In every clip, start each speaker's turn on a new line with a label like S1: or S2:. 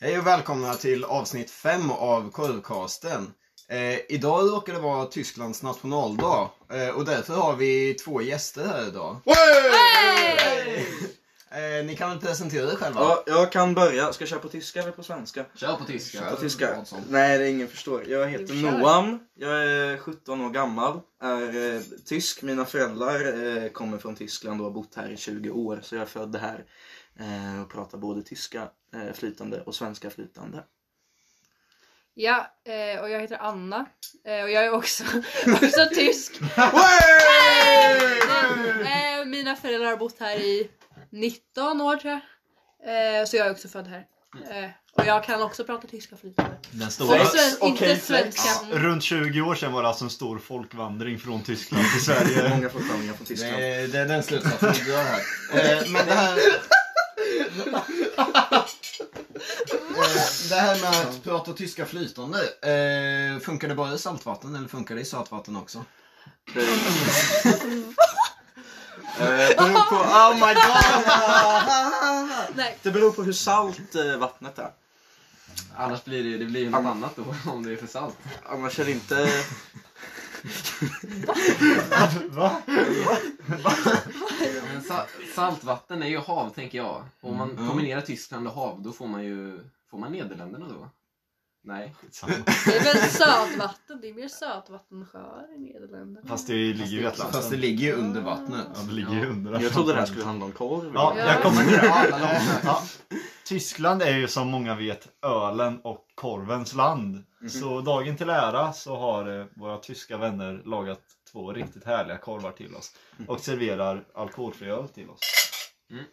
S1: Hej och välkomna till avsnitt 5 av Korvcasten. Eh, idag råkar det vara Tysklands nationaldag eh, och därför har vi två gäster här idag. Eh, ni kan väl presentera er själva?
S2: Ja, jag kan börja. Ska jag köra på tyska eller på svenska?
S3: Kör på tyska.
S2: På tyska.
S3: Vad som.
S2: Nej, det är ingen förstår. Jag heter
S4: Du kör.
S2: Noam. Jag är 17 år gammal. Är eh, tysk. Mina föräldrar eh, kommer från Tyskland och har bott här i 20 år. Så jag är född här eh, och pratar både tyska eh, flytande och svenska flytande.
S4: Ja, eh, och jag heter Anna eh, och jag är också, också tysk. Men, eh, mina föräldrar har bott här i 19 år tror jag. Eh, så jag är också född här. Eh, och jag kan också prata tyska flytande.
S1: Den
S4: Inte
S1: stora.
S4: sven-
S2: okej,
S4: inte
S2: flex.
S4: svenska. Mm.
S5: Runt 20 år sedan var det alltså en stor folkvandring från Tyskland till Sverige.
S2: Många församlingar från
S1: Det
S2: Tyskland.
S1: är, det är den slutsatsen vi drar här. Eh, men det här... Eh, Det här med att prata tyska flytande, eh, funkar det bara i saltvatten eller funkar det i sötvatten också?
S2: Eh, Det beror på... Oh my god!
S4: Nej.
S2: Det beror på hur salt eh, vattnet är.
S3: Annars blir det ju det blir ju något annat då om det är för salt.
S2: Annars är det inte...
S5: Va?
S3: Men sa- saltvatten är ju hav tänker jag. Och om man
S1: Mm.
S3: kombinerar Tyskland och hav då får man ju får man Nederländerna då? Nej.
S5: Skitsamma.
S4: Det är väl sötvatten, det är mer sötvattensjöar i Nederländerna.
S5: Fast det ligger ju i
S1: Fast det
S5: Atlanten.
S1: ligger ju under vattnet.
S5: Ja, det ligger ju under
S2: Jag trodde det här skulle handla om korv.
S5: Ja,
S4: Ja.
S5: jag kommer till det.
S1: Ja, alla har-
S5: Ja. Tyskland är ju som många vet ölen och korvens land. Så dagen till ära så har eh, våra tyska vänner lagat två riktigt härliga korvar till oss. Och serverar alkoholfri öl till oss.
S3: Mm.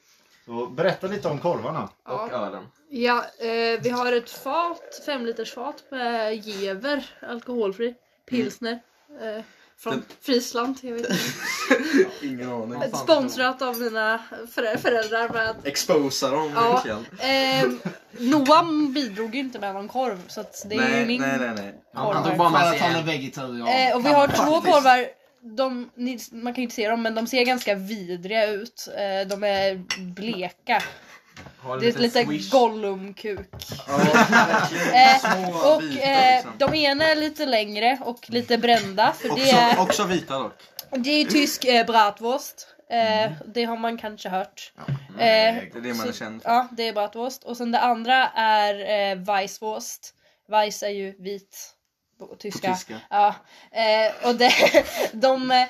S5: Så berätta lite om korvarna.
S3: Och
S4: Ja.
S3: ölen.
S4: Ja, eh, vi har ett fat, femlitersfat med Gever, alkoholfri, pilsner. Eh, från
S2: Den-
S4: Friesland, jag vet inte.
S2: Ingen aning.
S3: Vad fan.
S4: Sponsrat av mina förä- föräldrar med att
S2: Exposa dem
S4: Ja.
S2: verkligen.
S4: Ehm, Noam bidrog ju inte med någon korv så att det är ju
S2: Nej,
S4: min
S2: nej, nej, nej.
S3: Han, han
S4: korv.
S3: tog bara
S1: För
S3: med
S1: att
S3: sig
S1: han är
S3: en.
S1: vegetarian.
S4: Eh, och vi har två
S2: Faktiskt.
S4: korvar. De, ni, man kan ju inte se dem men de ser ganska vidriga ut. Eh, de är bleka.
S3: Har en
S4: Det är
S3: liten
S4: lite
S3: swish.
S4: Gollum-kuk.
S2: Ja, verkligen.
S4: Eh,
S2: Små
S4: och
S2: bitar,
S4: eh,
S2: liksom.
S4: de ena är lite längre och lite brända för det är,
S2: också, också vita dock.
S4: det är ju tysk eh, bratwurst. Eh, det har man kanske hört. Eh,
S2: Mm. Det är det man är
S4: Så-
S2: känd för.
S4: Ja, det är bratwurst. Och sen det andra är eh, weisswurst. Weiss är ju vit på tyska.
S2: På tyska.
S4: Ja. Eh, och det, de, eh,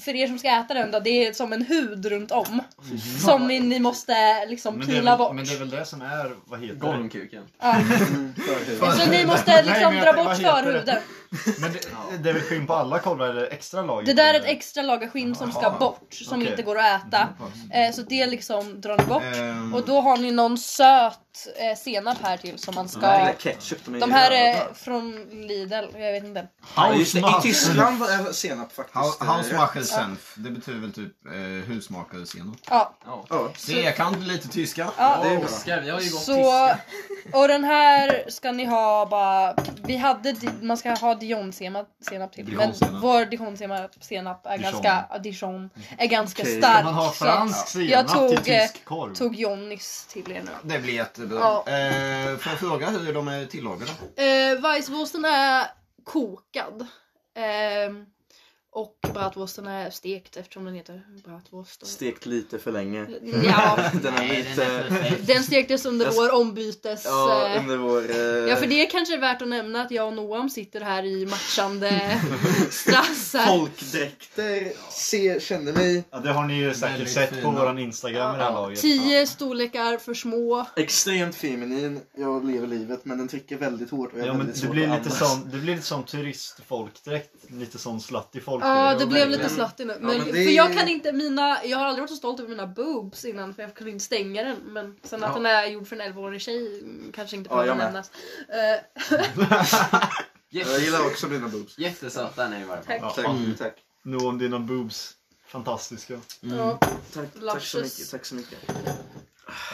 S4: för er som ska äta den då, det är som en hud runt om. Som ni, ni måste liksom
S5: Mm. Men det, är
S4: pila
S5: väl,
S4: bort.
S5: men det är väl det som är, vad heter det?
S3: Gollumkuken.
S4: Ja.
S2: Mm.
S4: Så ni måste
S5: Nej,
S4: liksom
S5: men
S4: dra
S5: jag-
S4: bort
S5: vad heter det?
S4: förhuden.
S5: Men det, det är väl skinn på alla korvar eller extra lager?
S4: Det där är ett extra lager skinn som ska
S1: Jaha.
S4: bort, som
S5: Okej. Mm, Eh.
S4: inte går att äta. Eh, så det liksom drar ni bort.
S1: Ehm,
S4: Och då har ni någon söt eh, senap här till som man ska...
S2: Ja. Ketchup, de, är
S4: De
S2: ju
S4: här
S2: röda.
S4: är från Lidl, jag vet inte.
S2: Ja, just det, I Tyskland är senap faktiskt.
S1: Ha-
S2: eh,
S1: Hausmachersenf, det betyder väl typ eh, husmakarsenap.
S4: Ja,
S3: Ja.
S2: Ja.
S1: Se, jag kan lite tyska.
S4: ja.
S2: det är bra.
S3: Oskar, vi har ju gått
S4: Så,
S3: tyska.
S4: och den här ska ni ha bara, vi hade, di- man ska ha dijonsenap senap till. Men
S1: Dijonsenap.
S4: vår dijonsenap senap är
S5: Dijon.
S4: ganska, ja, dijon, är ganska
S2: Okej,
S4: stark.
S5: Man har
S4: så
S5: fransk
S4: jag
S5: senap
S4: tog,
S5: till
S4: eh,
S5: tysk korv.
S4: tog Jonnys till er nu.
S1: Det blir jättebra.
S4: Ja.
S1: Eh, får jag fråga hur de är tillagade?
S4: Eh, Weisswursten är kokad. Ehm, och bratwursten är stekt eftersom den heter bratwurst.
S2: Stekt lite för länge.
S4: Ja,
S2: Den är lite...
S4: den stektes under
S2: Jag-
S4: vår ombytes...
S2: Ja,
S4: eh,
S2: under vår... eh,
S4: Ja för det är kanske värt att nämna att jag och Noam sitter här i matchande strassar.
S2: Folkdräkter. Se, kände mig
S5: Ja, det har ni ju säkert
S1: Väldigt
S5: sett på
S1: fina.
S5: våran Instagram i det här laget.
S4: Tio storlekar för små.
S2: extremt feminin. Jag lever livet, men den trycker väldigt hårt. Och jag är
S5: Ja, men
S2: väldigt
S5: det
S2: svår
S5: blir
S2: att
S5: lite
S2: andas.
S5: som, det blir lite som turistfolkdräkt. Lite sån slattig folkdräkt.
S4: Ja det
S3: verkligen.
S4: blev lite slutty nu. Men,
S2: men det
S4: För
S2: är-
S4: jag kan inte mina, jag har aldrig varit så stolt över mina boobs innan för jag kunde inte stänga den. Men sen att
S2: Ja.
S4: den är gjord för en 11-årig tjej mm, kanske inte
S2: Ja,
S4: behöver
S2: jag med.
S4: nämnas. Eh,
S2: Jag
S3: Jätte,
S2: gillar också mina boobs.
S3: jättesöta är ni i varje fall.
S4: tack.
S5: Ja.
S2: Tack,
S1: Mm.
S2: tack.
S5: Nu om dina boobs. Fantastiska.
S2: mm.
S4: Ja,
S2: Tack, tack så
S4: Luscious.
S2: mycket. Tack så mycket.
S5: Ja,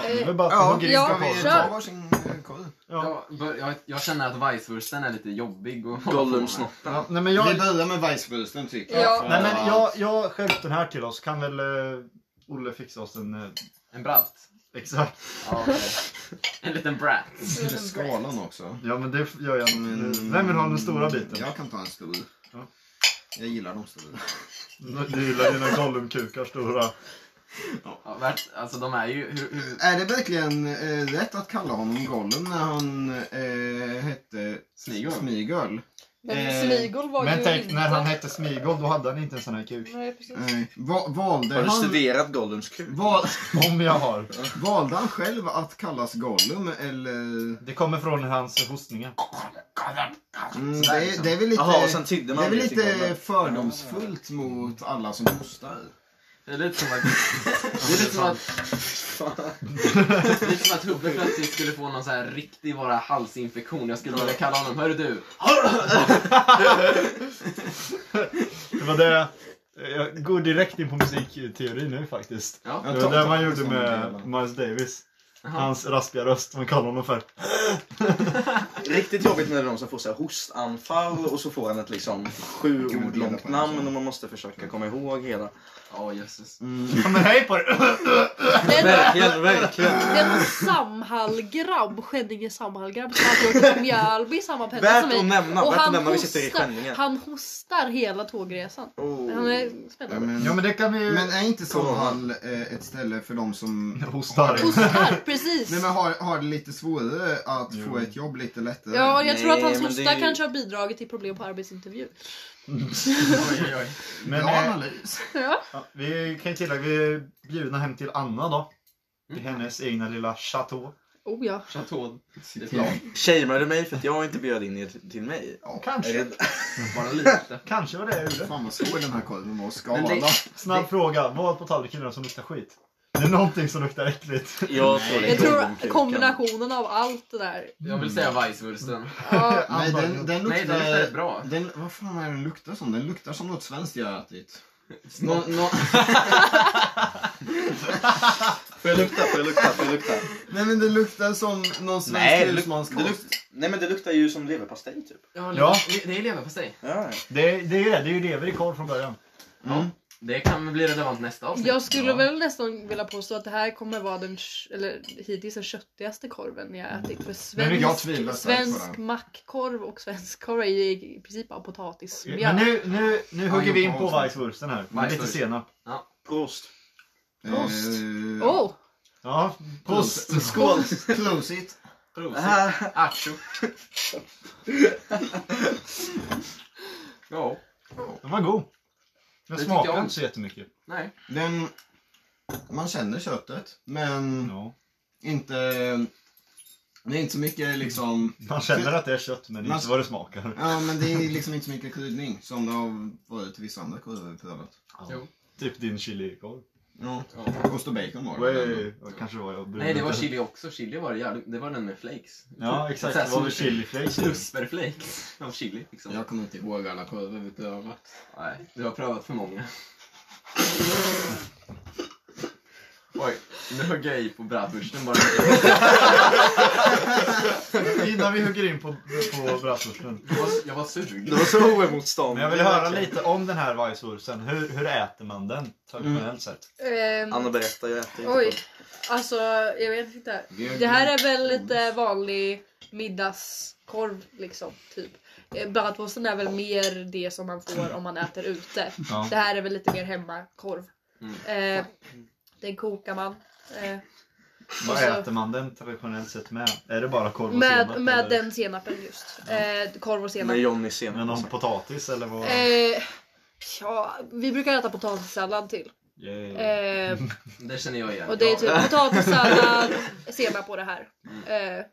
S4: Eh,
S5: det är väl bara att
S1: ja,
S5: hugga in
S4: ja,
S5: på
S1: Ska vi
S5: korven.
S4: kör.
S1: ta varsin eh, korv?
S5: Ja.
S3: Jag, bör- jag, jag känner att Weisswursten är lite jobbig och
S2: Gollumsnoppen.
S5: Ja, nej men
S1: Vi
S5: jag,
S1: börjar med weisswursten tycker jag.
S4: Ja.
S5: nej, men jag, jag skärpte den här till oss. Kan väl eh, Olle fixa oss en... Eh,
S3: En bralt.
S5: exakt.
S3: Ja, okej. En liten brat.
S1: Eller skalan också.
S5: Ja men det gör jag nu.
S1: Mm.
S5: Vem vill ha den stora biten?
S1: Jag kan ta en stor.
S5: Ja.
S1: Jag gillar de stora.
S5: Du gillar dina Gollum-kukar stora.
S3: Ja, värt, alltså de är ju... Hur, hur,
S1: Är det verkligen eh, rätt att kalla honom Gollum när han eh, hette
S3: Smygol.
S1: Smygol? Eh,
S6: Men Smigol var
S5: Men
S6: ju
S5: tänk
S6: inte...
S5: när han hette Smigol då hade han inte en sån här kuk.
S6: Nej, precis.
S1: Eh, va- valde,
S2: Har du
S1: han,
S2: studerat Gollums kuk?
S1: val,
S5: Om jag har.
S1: valde han själv att kallas Gollum eller?
S5: Det kommer från hans hostningar.
S1: Mm,
S3: Sådär
S1: det,
S3: liksom.
S1: det är väl lite,
S2: Jaha, och sen tydde
S1: det
S2: man
S1: är väl
S2: det till
S1: lite
S2: Gollum.
S1: fördomsfullt mot alla som hostar.
S3: det är lite som att... Det är lite som att... Det är lite som att Hubbe plötsligt skulle få någon sån här riktig bara halsinfektion. Jag skulle börja kalla honom, hörru du.
S5: Det var det. Jag går direkt in på musikteori nu faktiskt.
S3: Ja.
S1: Ja,
S5: Det
S1: ta-
S5: var det
S1: ta-
S5: man
S1: ta-
S5: gjorde
S1: ta-
S5: med Miles Davis.
S3: Jaha.
S5: Hans raspiga röst, man kallar honom för.
S2: Riktigt jobbigt när det är de som får så här hostanfall och så får han ett liksom sju
S1: Gud,
S2: ord långt
S1: jag vet
S2: namn
S1: inte.
S2: och man måste försöka komma ihåg hela.
S3: Ja, jösses.
S1: Mm.
S5: Ja, men hej på dig!
S4: Den,
S2: Verkligen, verkligen.
S4: den Samhallgrabb, Skänninge Samhallgrabb, som har gjort Mjölby samma penna som
S2: Värt att
S4: vi.
S2: nämna,
S4: Och
S2: värt att
S4: han
S2: nämna. Vi sitter i
S4: hostar,
S2: Skänninge.
S4: han hostar hela tågresan.
S2: Oh.
S4: Han är
S1: Ja,
S4: spännande.
S1: men,
S5: Ja men det kan vi ju...
S1: men är inte Samhall eh, ett ställe för de som
S5: Hostar.
S4: Hostar, precis.
S1: Nej men har, har det lite svårare att
S5: Jo.
S1: få ett jobb lite lättare?
S4: Ja, jag tror att
S2: Nej,
S4: hans
S2: men det är
S4: hosta
S2: ju-
S4: kanske har bidragit till problem på arbetsintervju.
S3: Oj, oj, oj.
S5: Men,
S1: Bra
S5: eh,
S1: analys.
S4: Ja.
S5: ja, vi kan ju tillägga, vi är bjudna hem till Anna då. Till hennes egna lilla chateau.
S4: Oh ja.
S3: Chateau. Det är
S1: Ja,
S3: klart.
S2: Shamear du mig för att jag inte bjöd in er till- till mig? Är
S5: Kanske.
S2: det...
S3: Bara lite.
S5: Kanske var det jag gjorde.
S1: Fan vad svår den här korven var att
S3: Men
S1: skala.
S3: det-
S5: Snabb fråga, vad på tallriken är det som luktar skit? Det är någonting som luktar äckligt.
S2: Jag
S1: Nej.
S2: tror det är
S4: Jag tror
S2: Gollumkuken.
S4: kombinationen av allt det där.
S3: Jag vill säga Weisswursten.
S4: Ja,
S1: Nej den, den
S3: Nej, det luktar rätt
S1: luktar...
S3: bra.
S1: Den, vad fan är den luktar som? Den luktar som något svenskt jag har ätit. Nå, nå,
S2: Får jag lukta? Får jag lukta? Får jag lukta?
S1: nej men det luktar som någon
S2: Nej,
S1: svensk
S2: det luk- det
S1: husmanskost.
S2: luktar- Nej men det luktar ju som leverpastej typ.
S5: Ja.
S3: Det- Det är leverpastej.
S2: Ja.
S5: Det, är- det är ju det, det är ju lever i korv från början.
S1: Mm.
S3: Det kan väl bli relevant nästa avsnitt.
S4: Jag skulle
S5: Ja.
S4: väl nästan vilja påstå att det här kommer vara den, kö- eller hittills den köttigaste korven jag ätit. För
S5: Men
S1: Mm. Jag
S4: svensk,
S1: tvivlar starkt på
S4: svensk
S1: den.
S4: mackkorv och svensk korv är ju i princip bara potatismjöl.
S5: Men nu, nu, nu hugger
S1: Ja,
S5: vi
S1: jag
S5: in på
S1: också.
S5: weisswursten här. Med lite
S3: Weisswurst.
S5: senap.
S2: Prost.
S1: Prost! Eh,
S4: Oh,
S5: Ja, prost!
S1: Prost! Skål! Prosit!
S3: Prosit.
S2: Ah,
S3: Acho. Ja.
S5: Den var god. Den
S3: Det tyckte
S5: smakar
S3: jag
S5: inte så jättemycket.
S3: Nej.
S1: Den... Man känner köttet, men
S5: Ja.
S1: inte... Det är inte så mycket liksom...
S5: Man känner att det är kött men det är
S1: Man-
S5: inte vad det smakar.
S1: Ja, men det är liksom inte så mycket kryddning som det har varit i vissa andra korvar vi prövat.
S5: Ja.
S3: Jo.
S5: Typ din chilikorv.
S1: Ja.
S3: Ja.
S1: Ost och bacon var det.
S5: Way. Ja, kanske var jag
S3: Nej, det var chili också. Chili var det jävligt. Det var den med flakes.
S5: Ja, exakt.
S3: Så här
S5: Det var väl
S3: snus-
S5: chiliflakes.
S3: Snusperflakes av chili. Liksom.
S1: Jag kommer inte ihåg alla korvar vi prövat.
S3: Nej, du har prövat för många. Oj, nu högg jag i på brädbursten bara.
S5: Innan vi hugger in på, på bratwursten.
S3: Jag var, jag var sugen.
S2: Det var så oemotståndligt.
S5: Men jag vill
S3: Mm.
S5: höra lite om den här weisswursten. Hur, hur äter man den traditionellt
S3: Mm.
S5: sett?
S4: ehm,
S2: Anna berätta, jag äter inte.
S4: oj. Alltså, jag vet inte.
S1: Vi har
S4: Det här är
S1: glömt
S4: väl lite
S1: godis.
S4: vanlig middagskorv liksom, typ. Eh, Bratwursten är väl mer det som man får om man äter ute.
S5: Ja.
S4: Det här är väl lite mer hemmakorv.
S3: Mm.
S4: Eh, den kokar man. Eh,
S5: Vad
S3: Alltså-
S4: Och så-
S5: äter man den traditionellt sett med? Är det bara korv och senap?
S4: med med
S5: eller?
S4: den senapen just. Eh, korv och senap.
S2: Med Johnny
S5: Med
S2: senare.
S5: någon potatis eller vad?
S4: Eh, ja, vi brukar äta potatissallad till.
S5: Yeah.
S4: Eh,
S3: Det känner jag igen.
S4: och det är
S3: Ja.
S4: typ potatissallad, senap på det här. Eh,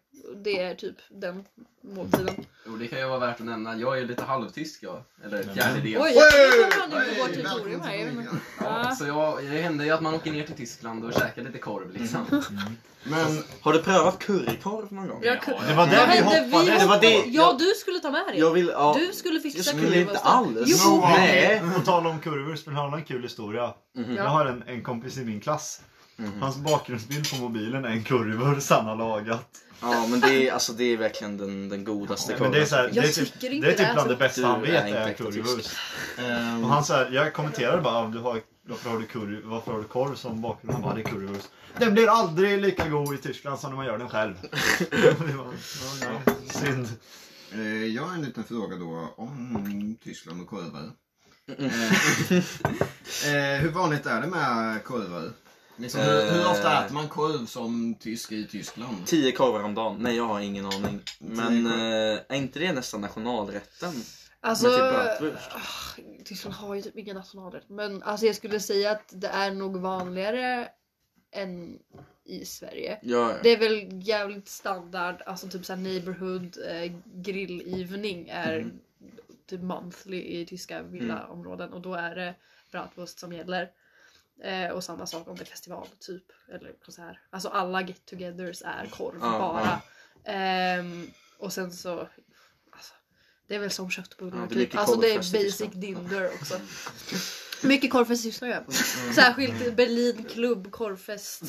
S4: det är typ den måltiden.
S3: Jo, det kan ju vara värt att nämna. Jag är lite halvtysk jag. Eller
S5: Men-
S3: fjärdedels.
S4: Oj, jag kom nu på vårt
S1: Hej,
S4: territorium
S1: välkommen
S4: här. jag
S1: till
S4: vet inte.
S1: familjen.
S4: Ja.
S3: Så jag, det händer ju att man åker ner till Tyskland och käkar lite korv liksom.
S1: Men
S2: Har du prövat currykorv någon gång?
S4: Jag kunde-
S5: Det var
S4: Vad
S5: där vi
S4: hände? Vi
S5: hoppades.
S2: Det var det-
S4: hoppade- Ja, du skulle ta med
S2: Jag
S4: dig.
S2: vill, ja.
S4: Du skulle
S2: Jag
S4: fixa
S2: skulle inte
S4: currywursten.
S2: alls.
S4: Jo.
S2: Nej.
S5: På tal om kurvor, men har en kul historia.
S2: Mhm.
S5: Jag har en, en kompis i min klass.
S2: Mhm.
S5: Hans bakgrundsbild på mobilen är en kurvur han har lagat.
S2: Ja men det är, alltså, det är verkligen den, den godaste
S5: Men
S2: korven.
S5: det är, så här, det
S4: Jag
S5: är typ,
S4: tycker
S5: det är
S4: inte det
S5: typ
S4: är
S5: bland det
S4: så.
S5: bästa han
S2: Du
S5: vet
S2: är inte
S5: är
S2: äkta
S5: kurvur.
S2: tysk.
S1: ehm,
S5: Och han så här, jag kommenterade bara om du har Varför har du, curry, varför har du korv som bakgrund? Bara, det är currywurst. Den blir aldrig lika god i Tyskland som när man gör den själv. Det var- ja, nej, Synd.
S1: Eh, Jag har en liten fråga då om Tyskland och korvar.
S2: Mm.
S1: Eh, eh, hur vanligt är det med korvar? Liksom, hur, hur ofta
S2: Eh.
S1: äter man korv som tysk i Tyskland?
S2: Tio korvar om dagen? Nej, jag har ingen aning. Men
S1: Tio
S2: eh, är inte det nästan nationalrätten?
S4: Alltså,
S2: Men typ bratwurst.
S4: ah, Tyskland har ju typ inga nationalrätt. Men alltså jag skulle säga att det är nog vanligare än i Sverige.
S2: Jag,
S4: Det är väl jävligt standard, alltså typ såhär neighborhood eh, grillivning är
S2: Mm.
S4: typ monthly i tyska villaområden och då är det bratwurst som gäller. Eh, och samma sak om det är festival typ, eller konsert. Alltså alla get togethers är korv
S2: Ja,
S4: bara.
S2: ja.
S4: Ehm, och sen så, alltså, det är väl som köttbullar
S2: Ja, det är
S4: typ.
S2: mycket
S4: Alltså
S2: korv
S4: det är
S2: fast i
S4: basic
S2: Tyskland. Mm,
S4: dinder också. Mycket korvfest i Tyskland gör jag. Särskilt Berlin klubb korvfest.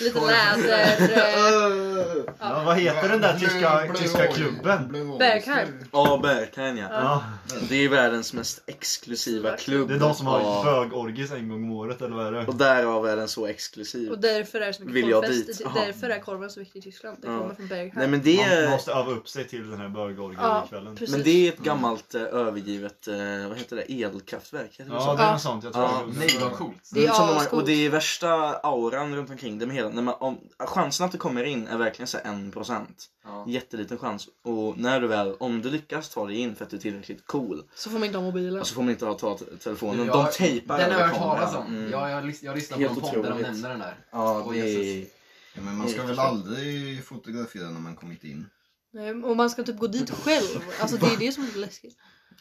S4: Lite läder. eh,
S5: Ja, vad heter den där tyska, tyska klubben?
S4: Bergheim.
S2: Ja, Berghain ja.
S5: Ja,
S2: Det är världens mest exklusiva klubb.
S5: det är de som
S2: Ja.
S5: har bögorgis en gång om året, eller vad är det?
S2: Och därav är den så exklusiv.
S4: Och därför är det så mycket
S2: Vill jag
S4: korvfest.
S2: dit?
S4: i-
S2: Jaha.
S4: Därför är korven så viktig i Tyskland. Det
S2: Ja.
S4: kommer från
S2: Nej
S4: Bergheim.
S2: men det
S5: Man
S2: är,
S5: måste öva upp sig till den här
S4: Ja,
S5: bögorgiekvällen.
S4: precis.
S2: men det är ett gammalt eh, övergivet, eh, vad heter det, elkraftverk? Heter det
S5: Ja,
S2: så?
S5: det är något sånt. Jag tror
S2: Ja.
S5: det.
S3: Nej vad coolt.
S4: Det är
S2: Som de har-
S4: ascoolt.
S2: och det är värsta auran runt omkring det med hela. När man, om, chansen att du kommer in är verkligen så här 1%.
S3: Ja.
S2: Jätteliten chans. Och när du väl, om du lyckas ta dig in för att du är tillräckligt cool.
S4: Så får man inte ha mobilen.
S2: Och så får man inte ha ta telefonen.
S3: Jag-
S2: de tejpar
S3: Den har jag
S2: över
S3: hört talas om.
S2: Mm.
S3: Jag, jag, lys- jag lyssnade
S2: Helt
S3: på en podd där de
S2: otroligt.
S3: nämnde den där.
S2: Ja,
S3: Oj,
S2: det är...
S3: Jesus.
S1: Ja, men man ska väl aldrig fotografera när man kommit in?
S4: Nej, Och man ska typ gå dit själv. Alltså det är det som är läskigt.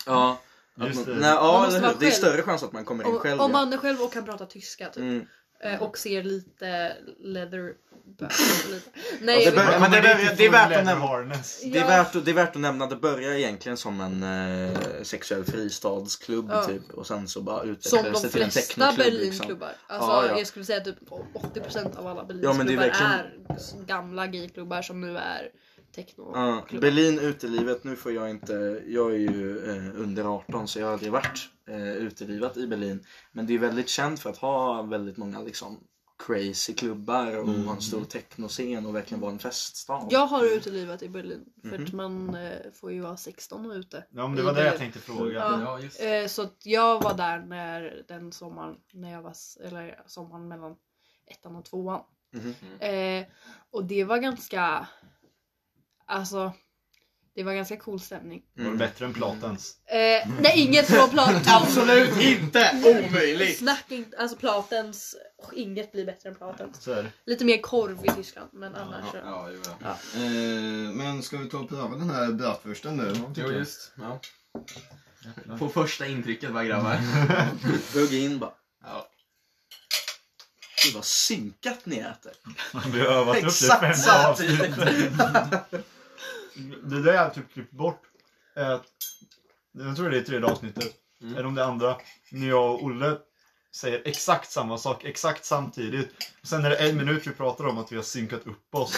S2: Ja. att
S5: Just
S2: man, nej,
S5: det.
S4: Man
S2: ja,
S4: måste
S2: eller
S4: vara
S2: hur? det är
S4: själv.
S2: större chans att man kommer in själv.
S4: Om, om
S2: ja.
S4: man är själv och kan prata tyska typ.
S2: mm.
S4: Eh, Och ser lite leather... lite.
S2: Ja,
S4: Nej,
S2: det bör-
S4: jag
S2: men det är- det är värt att nämna.
S5: harness.
S4: vet-
S2: Det är,
S4: Ja.
S2: värt, att- det är värt att nämna, det börjar egentligen som en eh, sexuell fristadsklubb
S4: Ja.
S2: typ och sen så bara
S4: Som
S2: utvecklades
S4: de
S2: det till en
S4: flesta
S2: technoklubb. Liksom.
S4: Berlinklubbar. Alltså,
S2: Ja, ja.
S4: Jag skulle säga typ 80% av alla
S2: Ja, men det är
S4: Berlinklubbar
S2: verkligen-
S4: är gamla gayklubbar som nu är
S2: Ja,
S4: technoklubbar.
S2: Berlin utelivet, nu får jag inte, jag är ju eh, under 18 så jag har aldrig varit eh, utelivet i Berlin. Men det är väldigt känt för att ha väldigt många liksom crazy klubbar och ha en stor technoscen och verkligen vara en feststad.
S4: Jag har utelivat i Berlin för att
S2: Mhm.
S4: man eh, får ju vara 16 och ute.
S5: Ja, men det var det jag tänkte fråga.
S4: Ja.
S3: Ja, just det.
S4: Eh, Så att jag var där när den sommaren, när jag var, s- eller sommaren mellan ettan och tvåan.
S2: Mhm.
S4: Eh, och det var ganska, alltså, det var ganska cool stämning.
S5: Var det
S2: Mm.
S5: bättre än Platens?
S4: Eh, nej, inget från Platens.
S2: Absolut inte omöjligt!
S4: Snack inte, alltså Platens, inget blir bättre än Platens.
S5: Så är det.
S4: Lite mer korv i Tyskland, men annars så.
S3: Ja, jo, ja.
S1: Eh, men ska vi ta och pröva den här bratwursten nu?
S3: Jo, just. Ja. På första intrycket bara grabbar.
S2: Hugg in bara.
S3: Ja.
S2: Gud vad synkat ni äter.
S5: Vi har övat upp det i
S2: Exakt
S5: fem
S2: så.
S5: avsnitt. Det där jag typ klippt bort. är att- Jag tror det är i tredje avsnittet.
S3: Mm.
S5: Eller om det är andra. När jag och Olle säger exakt samma sak exakt samtidigt. Och sen är det en minut vi pratar om att vi har synkat upp oss.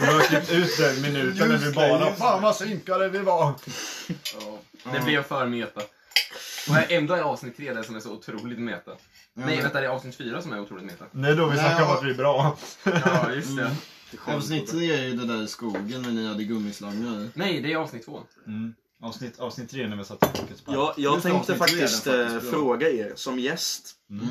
S5: Och jag har klippt ut den minuten när vi bara Fan vad synkade vi var!
S3: Det blev för meta. Och ändå är avsnitt tre den som är så otroligt meta.
S1: Ja,
S3: Nej
S1: men-
S3: vänta, det är avsnitt fyra som är otroligt meta. Mm.
S5: Nej då vi
S1: Nej,
S5: snackar om
S1: jag-
S5: att vi är bra.
S3: Ja, just det.
S1: Avsnitt Alltså, tre är ju det där i skogen när ni hade gummislangar.
S3: Nej, det är avsnitt två.
S2: Mm.
S5: Avsnitt, avsnitt tre när vi satt i fokus på
S2: Jag, jag
S1: Just det,
S2: tänkte
S1: avsnitt tre är den
S2: faktiskt,
S1: faktiskt
S2: eh,
S1: bra.
S2: fråga er som gäst.
S5: Mm.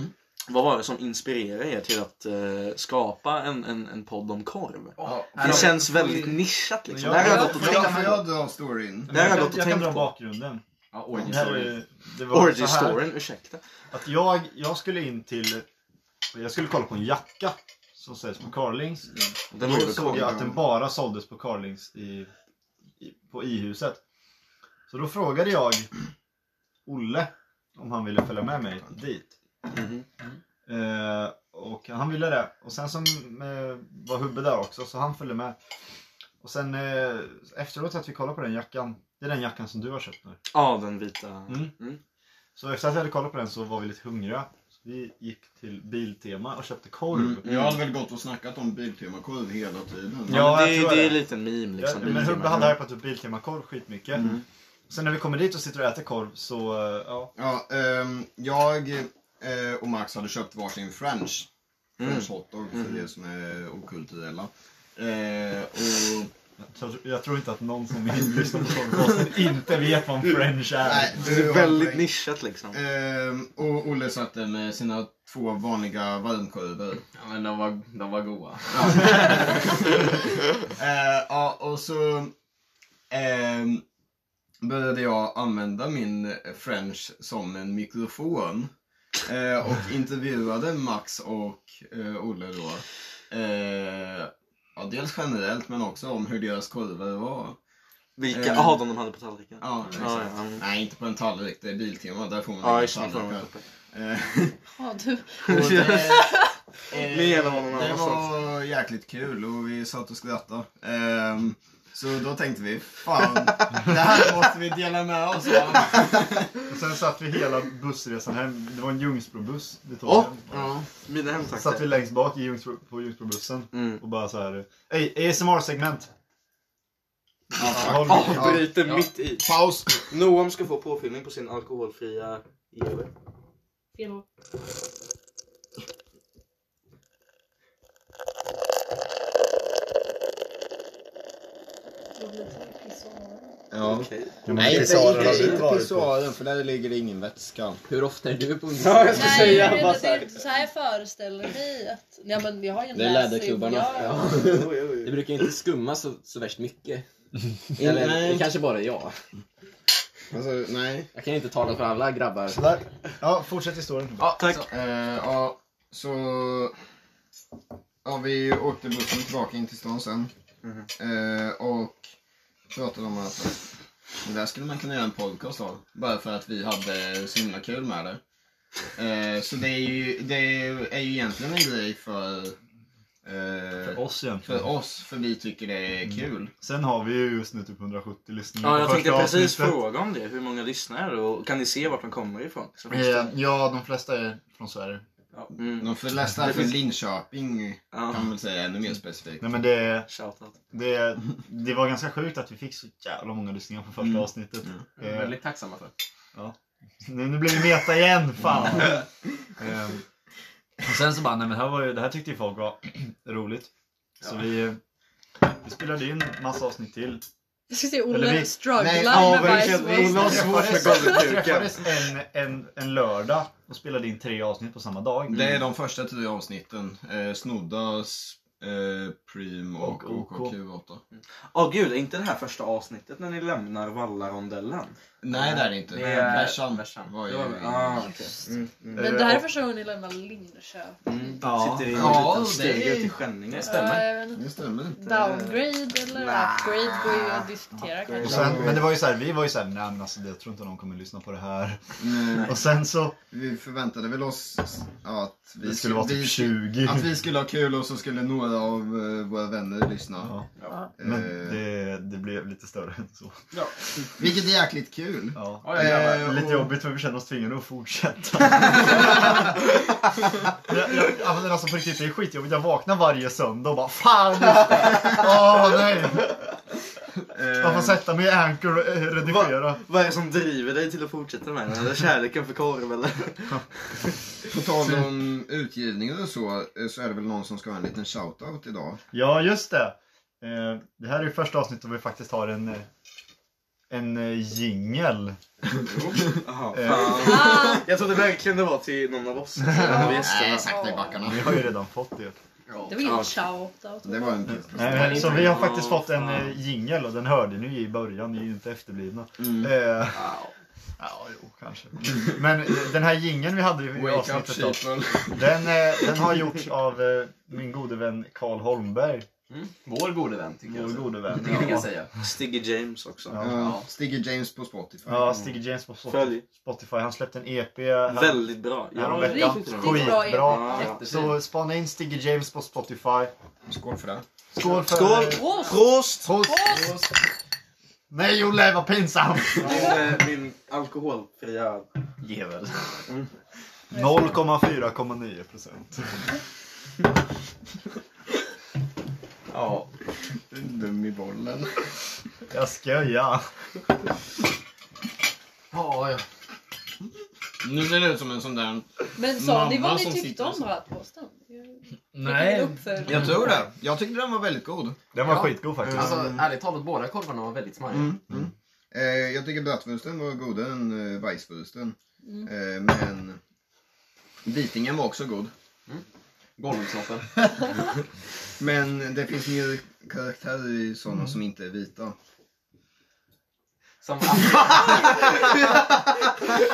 S2: Vad var det som inspirerade er till att eh, skapa en, en, en podd om korv?
S3: Ja,
S2: Det känns väldigt nischat liksom.
S5: Men
S2: Där
S5: jag-
S2: har jag
S5: jag-
S2: gått och
S1: Får jag,
S2: tänkt
S1: får
S2: på.
S1: jag dra storyn?
S2: Det här har jag
S5: jag,
S2: gått och
S5: jag kan
S2: tänkt
S5: dra
S2: på.
S5: bakgrunden.
S3: Ja,
S5: Det
S3: origin
S5: här
S3: story.
S5: är- Det var så här.
S2: Orgy-storyn, ursäkta.
S5: Att jag, jag skulle in till... Jag skulle kolla på en jacka som säljs på Carlings.
S2: Den
S5: Då
S2: var ju
S5: såg
S2: korv.
S5: jag att den bara såldes på Carlings i, i, på I-huset. Så då frågade jag Olle om han ville följa med mig dit. Mm.
S2: Mhm.
S5: Eh, och han ville det. Och sen som eh, var Hubbe där också, så han följde med. Och sen eh, efteråt att vi kollade på den jackan. Det är den jackan som du har köpt nu.
S2: Ja, den vita.
S5: Mm. Så efter att vi hade kollat på den så var vi lite hungriga. Så vi gick till Biltema och köpte korv.
S2: Mm.
S1: Jag hade väl gått och snackat om Biltemakorv hela tiden.
S5: Ja,
S2: Ja, men
S5: jag
S2: det,
S5: tror
S2: det är
S5: det.
S2: en liten meme liksom.
S5: ja, men
S2: Lite
S5: Hubbe
S2: meme.
S5: hade hypat upp Biltema-korv skitmycket.
S2: Mm.
S5: Sen när vi kommer dit och sitter och äter korv så, eh, ja.
S1: Ja, ehm, jag eh, och Max hade köpt varsin French.
S2: Mm.
S1: French hotdog för
S2: Mm.
S1: er som är okulturella. Eh, och,
S5: Så Jag tror inte att någon som vill lyssna på podcasten inte vet vad en french är.
S1: nej,
S2: Det är
S1: har
S2: väldigt
S1: poäng.
S2: nischat liksom.
S5: Eh,
S1: Ehm, och Olle satt där med sina två vanliga varmkorvar.
S3: Ja, men de var, de var goa.
S1: Eh, Ja, och så ehm, började jag använda min french som en mikrofon. Eh, och intervjuade Max och eh, Olle då. Eh, ja, dels generellt men också om hur deras korvar var.
S2: Vilka
S1: eh,
S2: av dem de hade på tallriken?
S1: Ja, exakt.
S2: ja, ja. mm.
S1: Nej, inte på en tallrik. Det är Biltema. Där får man
S2: Ja,
S1: inga
S2: just det.
S1: tallrikar. Eh,
S4: Ja, du.
S1: och det- Eh,
S2: Mer än någon
S1: Det
S2: annanstans.
S1: var jäkligt kul och vi satt och skrattade. Ehm, så då tänkte vi, fan, det här måste vi dela med oss av.
S5: Och sen satt vi hela bussresan hem. Det var en Ljungsbrobuss vi tog
S2: Åh!
S5: hem.
S1: Ja.
S2: Mina
S5: Satt vi
S2: hemtrakter.
S5: längst bak i Ljungsbro, på Ljungsbrobussen
S2: Mm.
S5: och bara så här. Ey, ASMR-segment!
S1: Ja,
S5: Håll-
S2: Avbryter
S3: Ja.
S2: mitt i.
S1: Paus!
S2: Noam ska få påfyllning på sin alkoholfria GW.
S4: Fel håll. Jag blir så här pissad.
S1: Ja.
S2: Okej.
S1: Nej, inte,
S5: pissoaren har
S1: inte,
S5: vi
S1: inte
S5: varit på.
S1: pissoaren för där ligger det ingen vätska.
S3: Hur ofta är du på
S2: Ja, jag ska
S4: Nej,
S2: säga
S4: det,
S2: bara
S4: det,
S2: så här.
S4: det, så här föreställer vi att... Ja, men jag har ju en
S3: Det är
S4: läs-
S3: läderklubbarna.
S4: Ja,
S2: Oj, oj, oj.
S3: Det brukar inte skumma så, så värst mycket.
S2: Mm,
S1: Eller, Nej. det
S3: kanske bara jag.
S1: Alltså, nej.
S3: Jag kan inte tala för alla grabbar.
S5: Sådär. Ja, fortsätt historien.
S3: Ja,
S2: Tack.
S3: så-
S1: Eh, ja, så... Ja, vi åkte bussen tillbaka in till stan sen.
S2: Mhm.
S1: Eh, och pratade om att det där skulle man kunna göra en podcast av. Bara för att vi hade så himla kul med det. Eh, så det är, ju, det är ju egentligen en grej för, eh,
S5: För oss egentligen.
S1: för oss, för vi tycker det är kul.
S5: Sen har vi ju just nu typ 170 lyssningar
S2: Ja,
S5: på
S2: jag
S5: första
S2: tänkte precis
S5: avsnittet.
S2: fråga om det. Hur många lyssnare och kan ni se vart de kommer ifrån? Så finns
S5: Eh,
S2: det-
S5: Ja, de flesta är från Sverige.
S2: Ja. Mm.
S1: De flesta är
S2: Det
S1: från
S2: finns-
S1: Linköping, kan
S2: Ja.
S1: man väl säga ännu mer specifikt.
S5: Mm. Nej men det,
S2: Shoutout.
S5: det, det var ganska sjukt att vi fick så jävla många lyssningar på första
S1: Mm.
S5: avsnittet. Eh,
S1: Mm.
S3: jag är väldigt tacksamma för.
S5: Nu, nu blir vi meta igen, fan! Ehm, och sen så bara, nej men här var ju, det här tyckte ju folk var roligt. Så
S3: Ja.
S5: vi, vi spelade in massa avsnitt till.
S4: Jag ska se
S5: Eller
S4: Olle
S5: vi-
S1: Nej,
S4: strugglar
S1: ja,
S4: med
S1: vi
S4: Vice
S1: känner-
S4: Versa.
S1: Olle har
S5: Vi
S1: svårt
S5: träffades-
S1: för
S2: golvkuken.
S5: träffades en, en, en lördag och spelade in tre avsnitt på samma dag.
S1: Det är de första tre avsnitten. Eh, Snoddas, eh, Prim och,
S5: Och OK.
S1: OKQ8.
S2: Åh gud, är inte det här första avsnittet när ni lämnar Vallarondellen?
S1: Nej, det är det inte.
S3: Det är-
S1: Bärsan
S3: Bärsan.
S1: var ju...
S2: Det var- ah, okej. Mm, mm.
S4: Men det här är första gången ni lämnar Linköping.
S2: Mm.
S5: Ja.
S2: Sitter i en
S1: Ja,
S2: liten
S1: det-
S2: stuga ute i Skänninge.
S4: Ja, jag vet inte.
S1: Det stämmer.
S4: Downgrade eller
S2: Nah.
S4: upgrade går ju att diskutera
S5: Och
S4: kanske.
S5: sen, men det var ju så här, vi var ju såhär, nej men alltså, jag tror inte någon kommer lyssna på det här.
S1: Nej,
S5: Och sen så,
S1: Vi förväntade väl oss att vi,
S5: det skulle vara
S1: vi-
S5: typ 20.
S1: att vi skulle ha kul och så skulle några av eh, våra vänner lyssna.
S5: Ja,
S4: Ja.
S1: Eh,
S5: men det, det blev lite större än så.
S1: Vilket är jäkligt kul.
S5: Ja.
S3: Ja, grabbar.
S1: Eh,
S5: Lite
S1: och-
S5: jobbigt för vi känner oss tvingade att fortsätta. jag, jag, ja, men alltså på riktigt, det är skitjobbigt. Jag vaknar varje söndag och bara Fan! just det. Åh nej! Jag får
S1: Eh,
S5: sätta mig i Anchor och eh, redigera.
S2: Vad är det som driver dig till att fortsätta med den? Är det kärleken för korv eller?
S1: Eh, på tal om utgivningar och så, eh, så är det väl någon som ska ha en liten shoutout idag.
S5: Ja, just det. Eh, det här är ju första avsnittet där vi faktiskt har en eh, en eh, jingel.
S2: Jaha,
S5: Eh.
S2: fan.
S4: Ah,
S2: Jag trodde verkligen det var till någon av oss. Någon av gästerna.
S1: Nej, sakta i backarna.
S5: Vi har ju redan fått det.
S4: det var ingen shoutout.
S1: Det var en piss.
S5: Nej, men, så vi har faktiskt fått en
S2: Åh, fan.
S5: eh, jingel och den hörde ni ju i början. Ni är ju inte efterblivna.
S1: Mm.
S5: Eh,
S2: Wow.
S5: ja, jo, kanske. Men eh, den här jingeln vi hade i
S1: Wake up
S5: avsnittet då.
S1: people.
S5: Den, eh, den har gjorts av eh, min gode vän Karl Holmberg.
S3: Vår gode vän tycker
S5: Vår
S3: jag.
S5: gode vän.
S3: Det kan
S5: Ja.
S3: jag säga.
S2: Stiggy James också.
S5: Ja.
S1: Ja, Stiggy James på Spotify.
S5: Ja, Stig James på Spotify.
S2: Följ.
S5: Spotify. Han släppte en EP. här-
S2: Väldigt bra. E
S5: Ja,
S2: var
S5: riktigt
S2: skitbra.
S4: Riktigt bra
S5: Skitbra.
S4: EP.
S2: Ja.
S3: Jättefin.
S5: Så spana in Stig James på Spotify.
S1: Skål för det.
S5: Skål för...
S2: Skål! Prost!
S4: Prost!
S5: Prost! Nej Olle, vad pinsamt!
S2: Min, eh, min alkoholfria...
S5: Gevel. 0,4,9 procent.
S3: Ja.
S1: Du är Dum i bollen.
S5: Jag skojar.
S3: Ja, ja.
S1: Nu ser det ut som en sån där...
S4: Men sa ni
S1: Mamma
S4: vad ni
S1: som
S4: tyckte
S1: sitter
S4: om
S1: så.
S4: bratwursten? Jag-
S6: Nej.
S4: jag tog upp för-
S1: Jag tror det. Jag tyckte den var väldigt god.
S5: Den var
S3: Ja.
S5: skitgod faktiskt. Mm.
S3: Alltså ärligt talat, båda korvarna var väldigt smajiga.
S1: Mm. Eh, jag tycker bratwursten var godare än eh, weisswursten.
S4: Mm.
S1: Eh, men vitingen var också god.
S3: Golvsnoppen.
S1: Men det finns mer karaktärer i sådana som inte är vita.
S3: Som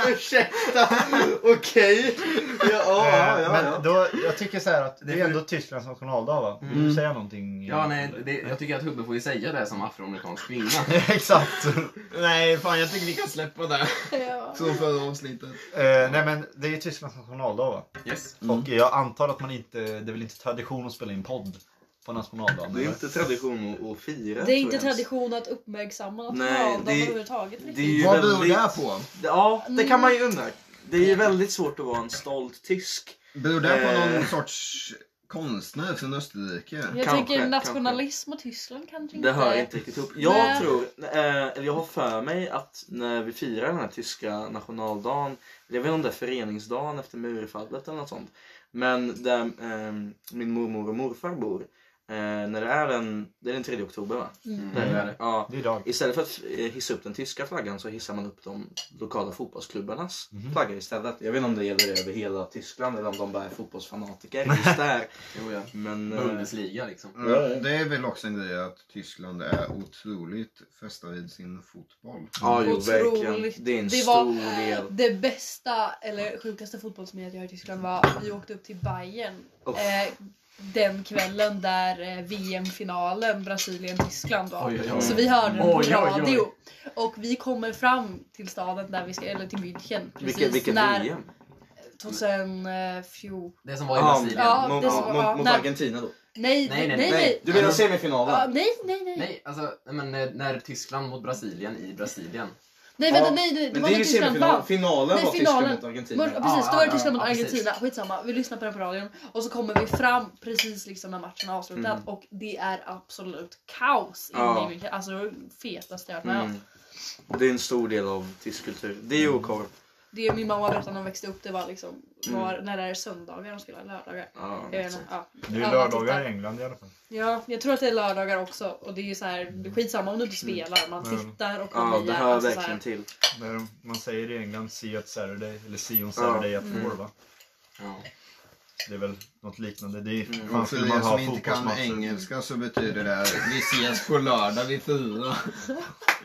S2: Ursäkta! Okej. Ja, ja,
S5: Eh,
S2: ja, ja.
S5: Men då, jag tycker så här att det
S2: Det
S5: är
S2: är-
S5: ändå Tysklands nationaldag va? Vill
S1: Mm.
S5: du säga någonting?
S3: Ja, nej, det, jag tycker att Hubbe får ju säga det som afroamerikansk kvinna.
S5: Exakt.
S1: Nej, fan jag tycker vi kan släppa det.
S4: Ja.
S1: Som förra avsnittet.
S5: Eh, nej men det är ju Tysklands nationaldag va?
S3: Yes.
S1: Mm.
S5: Och jag antar att man inte, det är väl inte tradition att spela in podd på nationaldagen?
S2: Det är
S5: eller?
S2: inte tradition att- att fira.
S4: Det är
S2: tror
S4: inte
S2: jag ens.
S4: tradition att uppmärksamma
S2: Nej,
S4: nationaldagen
S2: det-
S4: överhuvudtaget.
S2: det är
S4: liksom.
S2: ju-
S1: Vad beror
S2: väldigt-
S1: det här på?
S2: Ja, det kan man ju
S4: Mm.
S2: undra. Det är ju väldigt svårt att vara en stolt tysk.
S1: Beror det på någon
S2: Eh.
S1: sorts konstnär från Österrike?
S4: Jag
S2: Kanske,
S4: tänker nationalism och Tyskland kanske inte...
S2: Det hör inte riktigt ihop. Jag
S4: Eh, Nej.
S2: tror, eh, eller jag har för mig att när vi firar den här tyska nationaldagen, eller jag vet inte om det är föreningsdagen efter murfallet eller något sånt. Men där eh, min mormor och morfar bor, eh, när det är den, det är den 3 oktober va?
S4: Mm.
S2: Där är det. Ja.
S5: Det är idag.
S2: Istället för att eh, hissa upp den tyska flaggan så hissar man upp de lokala fotbollsklubbarnas flaggor istället. Mhm. Jag vet inte om det gäller över hela Tyskland eller om de bara är fotbollsfanatiker just där.
S3: Jo, ja.
S2: Men, eh,
S3: Bundesliga liksom.
S1: Mm, det är väl också en grej att Tyskland är otroligt fästa vid sin fotboll.
S2: ja, jo,
S4: Otroligt.
S2: verkligen. Det är en
S4: Det var- Eh,
S2: stor del.
S4: Det bästa eller sjukaste fotbollsminnet jag har i Tyskland var att vi åkte upp till Bayern
S2: Oh.
S4: eh, den kvällen där eh, VM-finalen Brasilien-Tyskland var.
S3: Oj, oj, oj.
S4: Så vi hörde den på
S3: Oj, oj, oj.
S4: radio. Och vi kommer fram till staden där vi ska, eller till München. Precis
S2: Vilket, vilket
S4: när
S2: VM?
S4: 2014.
S3: Det som var i
S2: Ja,
S3: Brasilien.
S4: ja.
S2: mot,
S4: det som-
S2: mot,
S4: ja,
S2: mot
S4: nej.
S2: Argentina då?
S4: Nej,
S3: Nej, nej,
S4: nej,
S2: Nej,
S4: nej.
S2: du menar semifinalen?
S4: Ja, nej, nej, nej. Nej,
S3: Nej, alltså nej, men när, när Tyskland mot Brasilien i Brasilien.
S4: vänta,
S2: Ja,
S4: nej, nej. Det
S2: Men
S4: var
S2: det är ju
S4: när Tyskland vann.
S2: semifinalen. Finalen
S4: Nej,
S2: var
S4: finalen.
S2: Tyskland mot
S4: Var,
S2: Argentina.
S4: precis,
S3: Ja,
S4: då var det
S3: ja,
S4: Tyskland mot
S3: ja, precis.
S4: Argentina. Skitsamma, vi lyssnar på den på radion. Och så kommer vi fram precis liksom när matchen är avslutad
S2: Mm.
S4: och det är absolut kaos inne
S2: Ja.
S4: i München. Alltså det fetaste jag har varit med om.
S2: Mm. Det är en stor del av tysk kultur. Det är ju korv.
S4: Det min mamma berättade när hon växte upp, det var liksom
S2: Mm.
S4: var, när det är söndagar de spelar, lördagar.
S2: Ja,
S4: Jag vet inte, ja.
S5: Det är
S4: Ja,
S5: lördagar
S4: tittar.
S5: i England i alla fall.
S4: ja, jag tror att det är lördagar också och det är ju så här, skitsamma om du inte spelar, man
S5: Mm.
S4: tittar och man
S2: ja det
S4: hejar,
S2: hör
S4: alltså så
S2: verkligen till.
S5: Där man säger i England See you at Saturday eller See you on Saturday at
S4: Mm.
S5: four va?
S3: Ja.
S5: Det är väl något liknande. Det är
S2: Mm.
S5: fan
S1: Och
S5: skulle
S1: för er
S5: man
S1: som
S5: ha
S1: inte kan
S5: fotbollsmatcher.
S1: engelska så betyder det att vi ses på lördag vid fyra.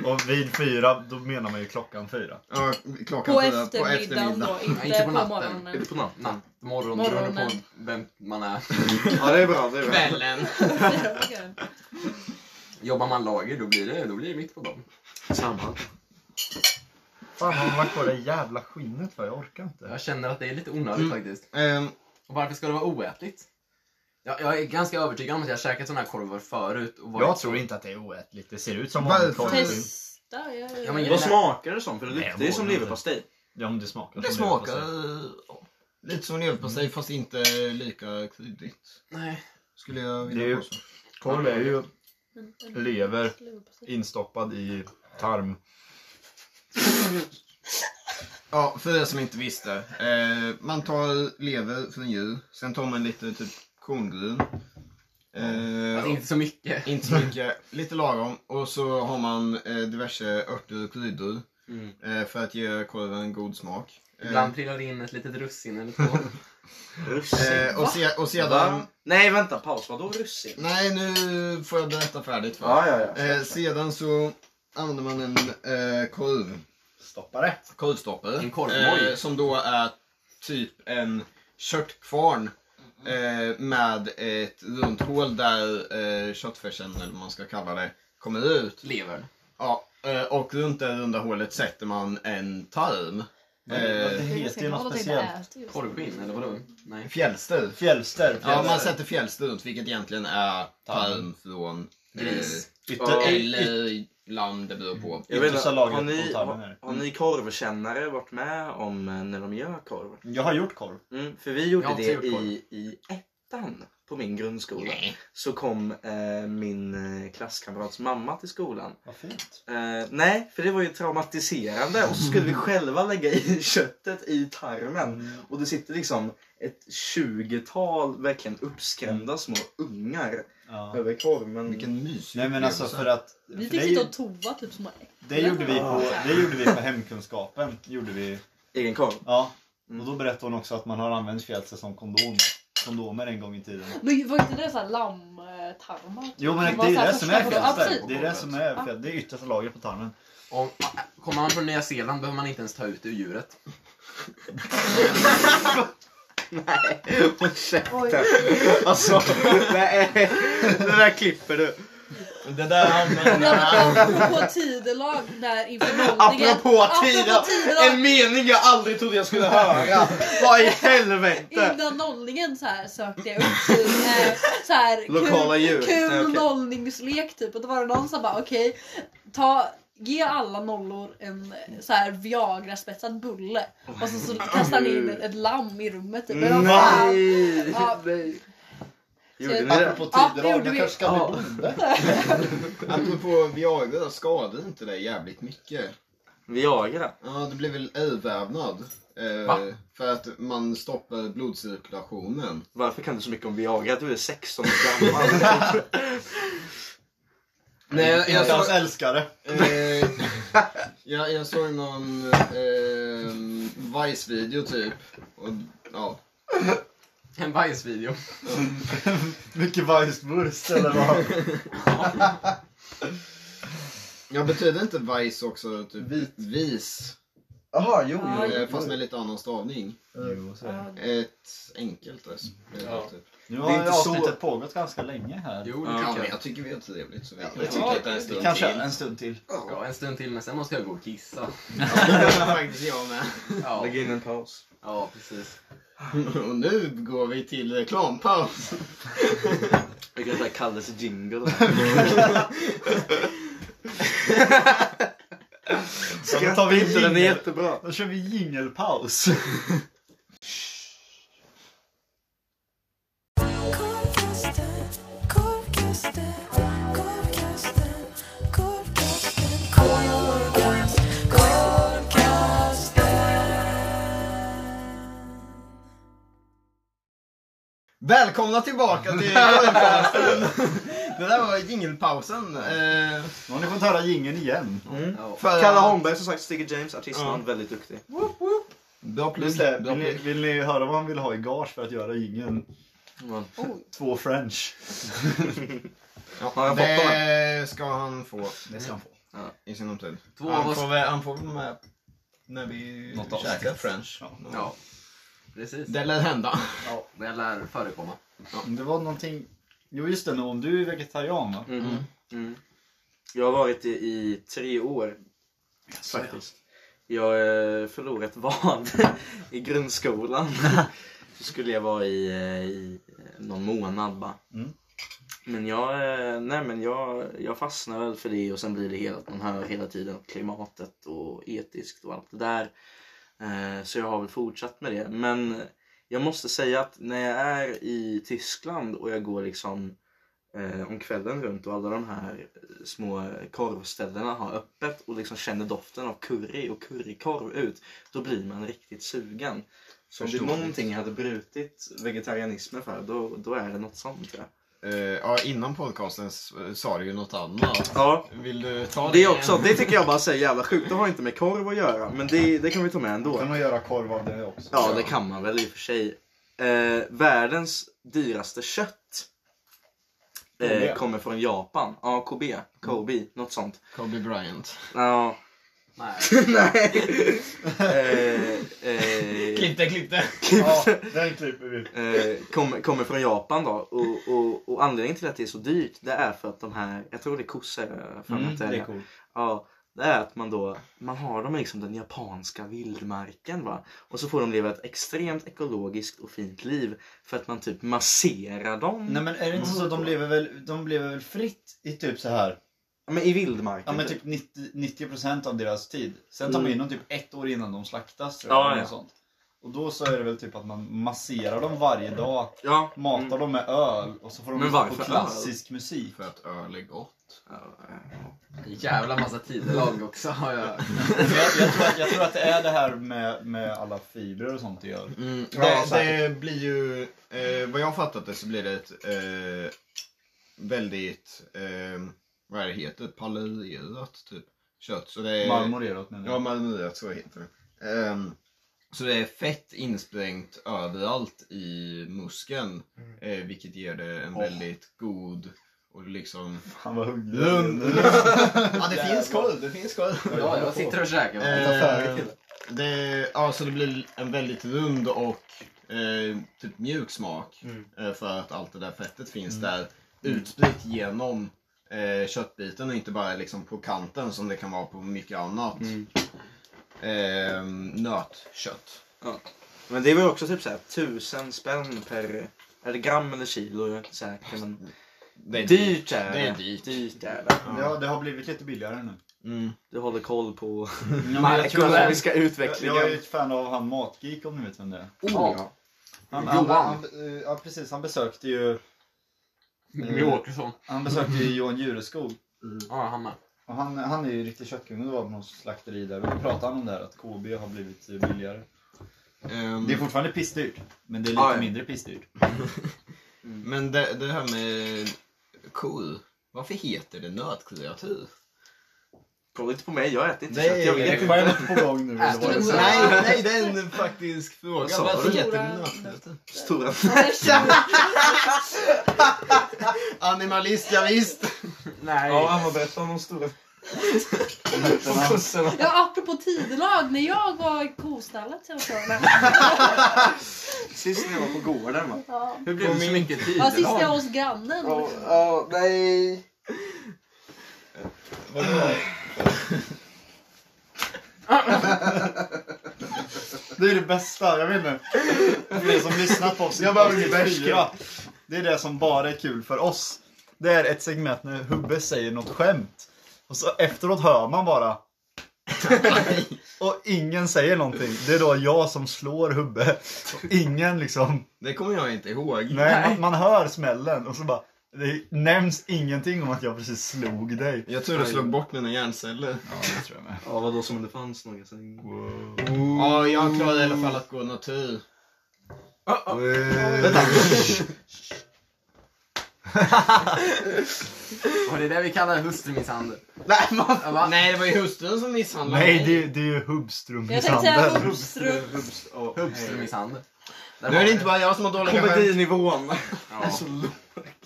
S5: Och vid fyra, då menar man ju klockan fyra.
S1: Ja,
S4: På,
S1: klockan fyra på
S4: eftermiddagen
S1: eftermiddag.
S4: då, inte,
S3: inte på
S4: på,
S3: natten.
S2: Är
S4: morgonen.
S2: det på natten?
S3: Natt, morgon,
S4: Morgonen.
S3: morgon. på vem man är.
S2: Ja det är bra. Det är bra.
S3: Kvällen. Jobbar man lager då blir det, då blir det mitt på dagen.
S2: Samma.
S5: Fan har man lagt på det jävla skinnet för? Jag orkar inte.
S3: Jag känner att det är lite onödigt
S1: Mm.
S3: faktiskt.
S1: Ehm,
S3: Och varför ska det vara oätligt? Jag, jag är ganska övertygad om att jag har käkat sådana här korvar förut. Och varit
S5: Jag
S3: så-
S5: tror inte att det är oätligt. Det ser ut som
S1: Varför?
S5: vanligt korvskinn.
S4: Testa, jag,
S3: Ja, men
S2: Vad
S3: jag-
S2: smakar det som? För det
S5: Nej, jag
S2: luktar ju som
S5: vågar inte.
S2: leverpastej.
S5: Ja, men det smakar Mm.
S1: det
S5: som lever på sig.
S1: smakar eh, lite som leverpastej fast inte lika kryddigt.
S3: Nej.
S1: Skulle jag
S5: Det är ju-
S1: vilja påstå.
S5: Korv är ju
S4: Mm.
S5: lever
S4: Leverpastej.
S5: instoppad i tarm.
S1: Ja, för er som inte visste. Eh, man tar lever från djur, sen tar man lite typ korngryn. Eh,
S3: Alltså, inte så mycket.
S1: Inte så mycket, lite lagom. Och så har man eh, diverse örter och kryddor
S2: Mm.
S1: eh, för att ge korven god smak. Eh,
S3: Ibland trillar det in ett litet russin eller två.
S1: eh, och, se, och sedan...
S2: Va? Nej vänta, paus. Vadå russin?
S1: Nej, nu får jag berätta färdigt. Va?
S2: Ja, ja, ja.
S1: Eh, sedan så använder man en eh, korv,
S5: Stoppare.
S1: korvstoppare.
S3: En korvmoj.
S1: Eh, som då är typ en köttkvarn. Eh, med ett runt hål där eh, köttfärsen, eller vad man ska kalla det, kommer ut.
S3: Lever.
S1: Ja, eh, och runt det runda hålet sätter man en tarm.
S5: Det
S1: Eh,
S5: heter ju något speciellt.
S3: Korvskinn eller vadå? Nej.
S1: Fjällster.
S5: Fjällster.
S1: Ja, man sätter fjällster runt, vilket egentligen är tarm från eh,
S3: Gris.
S5: Ytter,
S2: Ja.
S1: eller lamm, det beror på.
S6: Mm.
S2: Jag vet
S5: Yttersta
S2: inte,
S5: lagret
S2: har, ni,
S5: på tarmen
S2: har,
S5: här.
S2: har ni korvkännare varit med om eh, när de gör korv?
S5: Jag har gjort korv.
S2: Mm, för vi gjorde
S3: Jag har också
S2: det
S3: gjort korv.
S2: i, i ettan. på min grundskola så kom eh, min eh, klasskamrats mamma till skolan.
S5: Vad fint.
S2: Eh, nej, för det var ju traumatiserande och så skulle vi själva lägga i köttet i tarmen. Och det sitter liksom ett tjugotal verkligen uppskrämda små ungar
S5: Ja.
S2: över korven.
S1: Vilken mysig
S5: Nej men alltså
S1: upplevelse.
S5: för att...
S4: Vi
S5: för
S4: fick
S5: det,
S4: sitta och toa typ som
S5: det, gjorde vi på, det gjorde vi på hemkunskapen. Gjorde vi.
S2: Egen korv.
S5: Ja.
S2: Mm.
S5: Och då berättade hon också att man har använt fjälse som kondom. kondomer en gång i tiden.
S4: Men var inte det såhär lammtarmar?
S5: Jo men
S4: Det
S5: det,
S4: var
S5: är
S4: så här
S5: det som
S4: första
S5: är
S4: gången. Ja, precis.
S5: fjälse. Det är det som är fjälse. Det är yttersta lagret på tarmen.
S3: Om, kommer man från Nya Zeeland behöver man inte ens ta ut det ur djuret.
S2: Nej, håll käften. Alltså, nej, det där klipper du.
S5: Det där
S4: Apropå tidelag där inför målningen.
S2: Apropå tider.
S4: Apropå tidelag.
S2: En mening jag aldrig trodde jag skulle höra. Vad i helvete.
S4: Innan nollningen så här sökte jag upp typ, eh, så här,
S2: Lokala
S4: kul,
S2: djur.
S4: kul
S2: Nej, okej.
S4: nollningslek typ. Och då var det någon som bara okej, ta, ge alla nollor en eh, så här Viagra-spetsad bulle. Och så, så kastar ni in ett, ett lamm i rummet typ. Och de bara,
S2: Mm. Nej.
S4: Ja.
S2: Nej. Gjorde ni det?
S6: Apropå
S4: Ja, det
S6: tider,
S4: gjorde
S6: man
S4: vi.
S6: kanske ska
S2: Ja.
S6: bli bonde?
S1: Apropå Viagra då, skadade inte det jävligt mycket?
S2: Viagra.
S1: Ja, det blev väl övervävnad. Eh,
S3: Va?
S1: För att man stoppade blodcirkulationen.
S2: Varför kan du så mycket om Viagra? Du är 16 år gammal.
S1: Nej, jag, jag,
S5: Hans
S1: såg,
S5: älskare.
S1: eh, jag, jag såg någon eh, Vice-video typ. Och, ja.
S3: En bajsvideo.
S5: Mycket Weisswurst eller vad?
S1: Jag betyder inte Vice också typ
S6: Vit.
S1: vis?
S6: Jaha, jo,
S4: Ja,
S6: jo.
S1: Eh, fast med lite annan stavning.
S5: Jo, så är det.
S1: Ett enkelt S. eh,
S3: Ja.
S1: Typ.
S5: Nu
S2: Det är
S5: har
S2: inte
S5: ju
S2: så-
S5: avsnittet pågått ganska länge här.
S3: Jo, det
S2: Ja,
S1: Ja,
S3: tycker
S1: men
S3: jag.
S1: jag tycker vi har trevligt så vi kan
S6: Ja,
S1: fortsätta en stund
S5: Kanske
S1: till.
S5: en stund till.
S3: Ja, en stund till men sen måste jag gå och kissa.
S1: faktiskt jag med.
S3: Ja,
S2: Lägg in en paus.
S3: ja precis.
S1: Och nu går vi till reklampaus.
S2: Vilket där kallas jingle.
S5: Då tar vi
S2: inte, den är
S5: jingel.
S2: jättebra.
S5: Då kör vi jingelpaus.
S7: Korvkasten, korvkasten, korvkasten, korvkasten, korvkast, korvkasten.
S1: Välkomna tillbaka till reklampausen. Det där var jingelpausen. Eh,
S5: Nu har ni fått höra jingeln igen.
S2: Mm.
S3: Ja.
S1: för-
S2: Kalle Holmberg som sagt, Stigge James, artistnamn, väldigt duktig.
S1: Bra
S5: Just
S1: plus.
S5: det.
S1: Bra
S5: Vill ni,
S1: plus.
S5: vill ni höra vad han vill ha i gage för att göra jingeln?
S4: oj.
S5: Två french.
S2: Har jag fått dem?
S1: Det ska han få
S5: Det ska han få.
S1: i sinom tid.
S3: Två av
S1: han,
S3: oss...
S1: får väl, han får väl med när vi
S5: Något avsnitt.
S1: käkar french.
S3: Ja, precis.
S1: Det lär hända.
S3: Ja, det lär förekomma.
S5: Det var någonting... Jo just det, om du är vegetarian va?
S2: Mm. Mm. Jag har varit det i tre år faktiskt. Jag eh, förlorade ett vad i grundskolan. Så skulle jag vara i, eh, i eh, någon månad bara.
S5: Mm.
S2: Men jag, eh, nej men jag, jag fastnar väl för det och sen blir det hela att man hör hela tiden att klimatet och etiskt och allt det där. Eh, Så jag har väl fortsatt med det. Men jag måste säga att när jag är i Tyskland och jag går liksom eh, om kvällen runt och alla de här eh, små korvställena har öppet och liksom känner doften av curry och currykorv ut, då blir man riktigt sugen. Så om det är
S1: Förstår.
S2: någonting jag hade brutit vegetarianismen för, då, då är det något sånt tror jag.
S1: Eh, ja, innan podcasten s- eh, sa du ju något annat.
S2: Ja,
S1: Vill du ta
S2: det är också, det tycker jag bara säger jävla sjukt, det har inte med korv att göra, men det, det kan vi ta med ändå.
S5: Kan man göra korv av det också?
S2: Ja, det kan man väl i och för sig. Eh, världens dyraste kött eh,
S5: Kobe.
S2: kommer från Japan. Ja, Kobe. Kobe, något sånt.
S1: Kobe Bryant.
S2: Ja.
S3: Nej.
S2: Nej. eh, eh,
S1: Klipp det, klipp det.
S5: Ja, den klipper vi.
S2: eh, kommer, kommer från Japan då. Och, och, och anledningen till att det är så dyrt det är för att de här, jag tror det är kossor. jag har för mig
S5: Mm,
S2: att det är.
S5: det är coolt.
S2: Ja, det är att man då, man har dem i liksom den japanska vildmarken va. Och så får de leva ett extremt ekologiskt och fint liv för att man typ masserar dem.
S5: Nej men är det inte så att
S2: Mm.
S5: de lever väl, de lever väl fritt i typ så här
S2: Ja, men i vildmarken.
S5: Ja men typ 90, 90% av deras tid. Sen tar man in dem typ ett år innan de slaktas. tror jag,
S2: Ja,
S5: eller
S2: ja.
S5: något Sånt. Och då så är det väl typ att man masserar dem varje dag,
S2: Ja.
S5: matar
S2: Mm.
S5: dem med öl och så får de
S2: Men
S5: lyssna på
S2: varför öl?
S5: klassisk musik.
S1: För att öl är gott.
S2: Ja,
S3: Jävla massa tidelag också har jag.
S5: Men Jag, jag, tror att, jag tror att det är det här med, med alla fibrer och sånt i öl.
S1: Mm, det,
S5: ja,
S1: det blir ju, eh, vad jag har fattat det så blir det ett eh, väldigt, eh, vad är det heter, pallererat typ kött. Så det är,
S5: Marmorerat menar
S1: Ja,
S5: jag.
S1: marmorerat, så heter det. Ehm, så det är fett insprängt överallt i muskeln, eh, vilket ger det en
S5: Åh.
S1: väldigt god och liksom...
S5: Han var hungrig.
S1: Lugn! ja, det finns korv! Det finns korv!
S3: Ja, jag sitter och käkar.
S1: Eh,
S5: Affärer till.
S1: det, ja, så det blir en väldigt rund och eh, typ mjuk smak
S5: Mm.
S1: eh, för att allt det där fettet finns
S5: Mm.
S1: där utspritt genom eh, köttbiten och inte bara liksom på kanten som det kan vara på mycket annat
S2: Mm.
S1: eh, nötkött.
S2: Men det är väl också typ såhär tusen spänn per eller gram eller kilo, jag är inte säker. Men
S1: Det är
S2: dyrt är det.
S1: Det är dyrt.
S2: är det.
S5: Ja, det har blivit lite billigare nu.
S1: Mm.
S2: Du håller koll på
S5: Ja, men jag, tror att,
S2: marknadsmässiga
S5: jag,
S2: utvecklingen.
S5: jag är ju ett fan av han Matgeek om ni vet vem det är.
S3: Oh,
S2: ja.
S5: Han, han,
S3: Johan.
S5: han, eh, ja, precis. Han besökte ju,
S3: Jimmy Mm. Åkesson.
S5: han besökte ju Johan Jureskog.
S3: Ja, han med.
S5: Och han, han är ju riktig köttkung och det var på något slakteri där. Och då pratade han om det här att KB har blivit eh, billigare.
S1: Ehm,
S5: Det är fortfarande pissdyrt. Men det är lite
S2: Ja, ja.
S5: mindre pissdyrt.
S1: men det, det här med kor, varför heter det nötkreatur?
S2: Kolla inte på mig, jag äter inte
S1: Nej,
S2: kött. Jag
S1: det är
S2: vet inte.
S5: skämt på gång nu eller vad
S3: Äter
S5: det
S3: du
S5: är.
S1: Nej, nej, det är en faktisk fråga.
S2: Vad sa
S1: Varför
S2: du?
S1: heter det nötkreatur?
S2: Stora
S1: Animalist, ja, visst.
S3: Nej.
S2: Ja, han var berätta om de stora kossorna.
S4: Ja, apropå tidelag, när jag var i kostallet jag sa, nej.
S2: Sist när jag var på gården va?
S4: ja.
S3: Hur blev det så mycket
S4: ja, sist
S3: tidelag?
S4: jag var hos grannen.
S2: Ja, ja, nej.
S5: Det är det bästa, jag vet inte. För er som lyssnat på oss
S1: Jag behöver
S5: avsnitt
S1: bli bärs,
S5: fyra, Det är det som bara är kul för oss. Det är ett segment när Hubbe säger något skämt. Och så efteråt hör man bara. och ingen säger någonting. Det är då jag som slår Hubbe. Och ingen liksom.
S1: Det kommer jag inte ihåg.
S5: Nej, man, man hör smällen och så bara. Det nämns ingenting om att jag precis slog dig.
S1: Jag tror det slog bort mina hjärnceller.
S5: Ja, det tror jag med.
S2: Ja, vadå som om det fanns några sen.
S1: Ja, jag klarade i alla fall att gå natur.
S3: Och det är det vi kallar hustrumisshandel.
S1: Nej, man...
S3: Ja, va?
S1: Nej, det var ju hustrun som misshandlade
S5: Nej,
S1: mig.
S5: det, är- det är ju
S4: Jag tänkte säga
S5: Hubbström-misshandel.
S4: hubbstrupp.
S3: Hustrumisshandel. Där
S1: Nu är
S3: har
S1: det
S3: vi
S1: inte bara jag som har dåliga skämt.
S2: Komedinivån.
S3: Ja.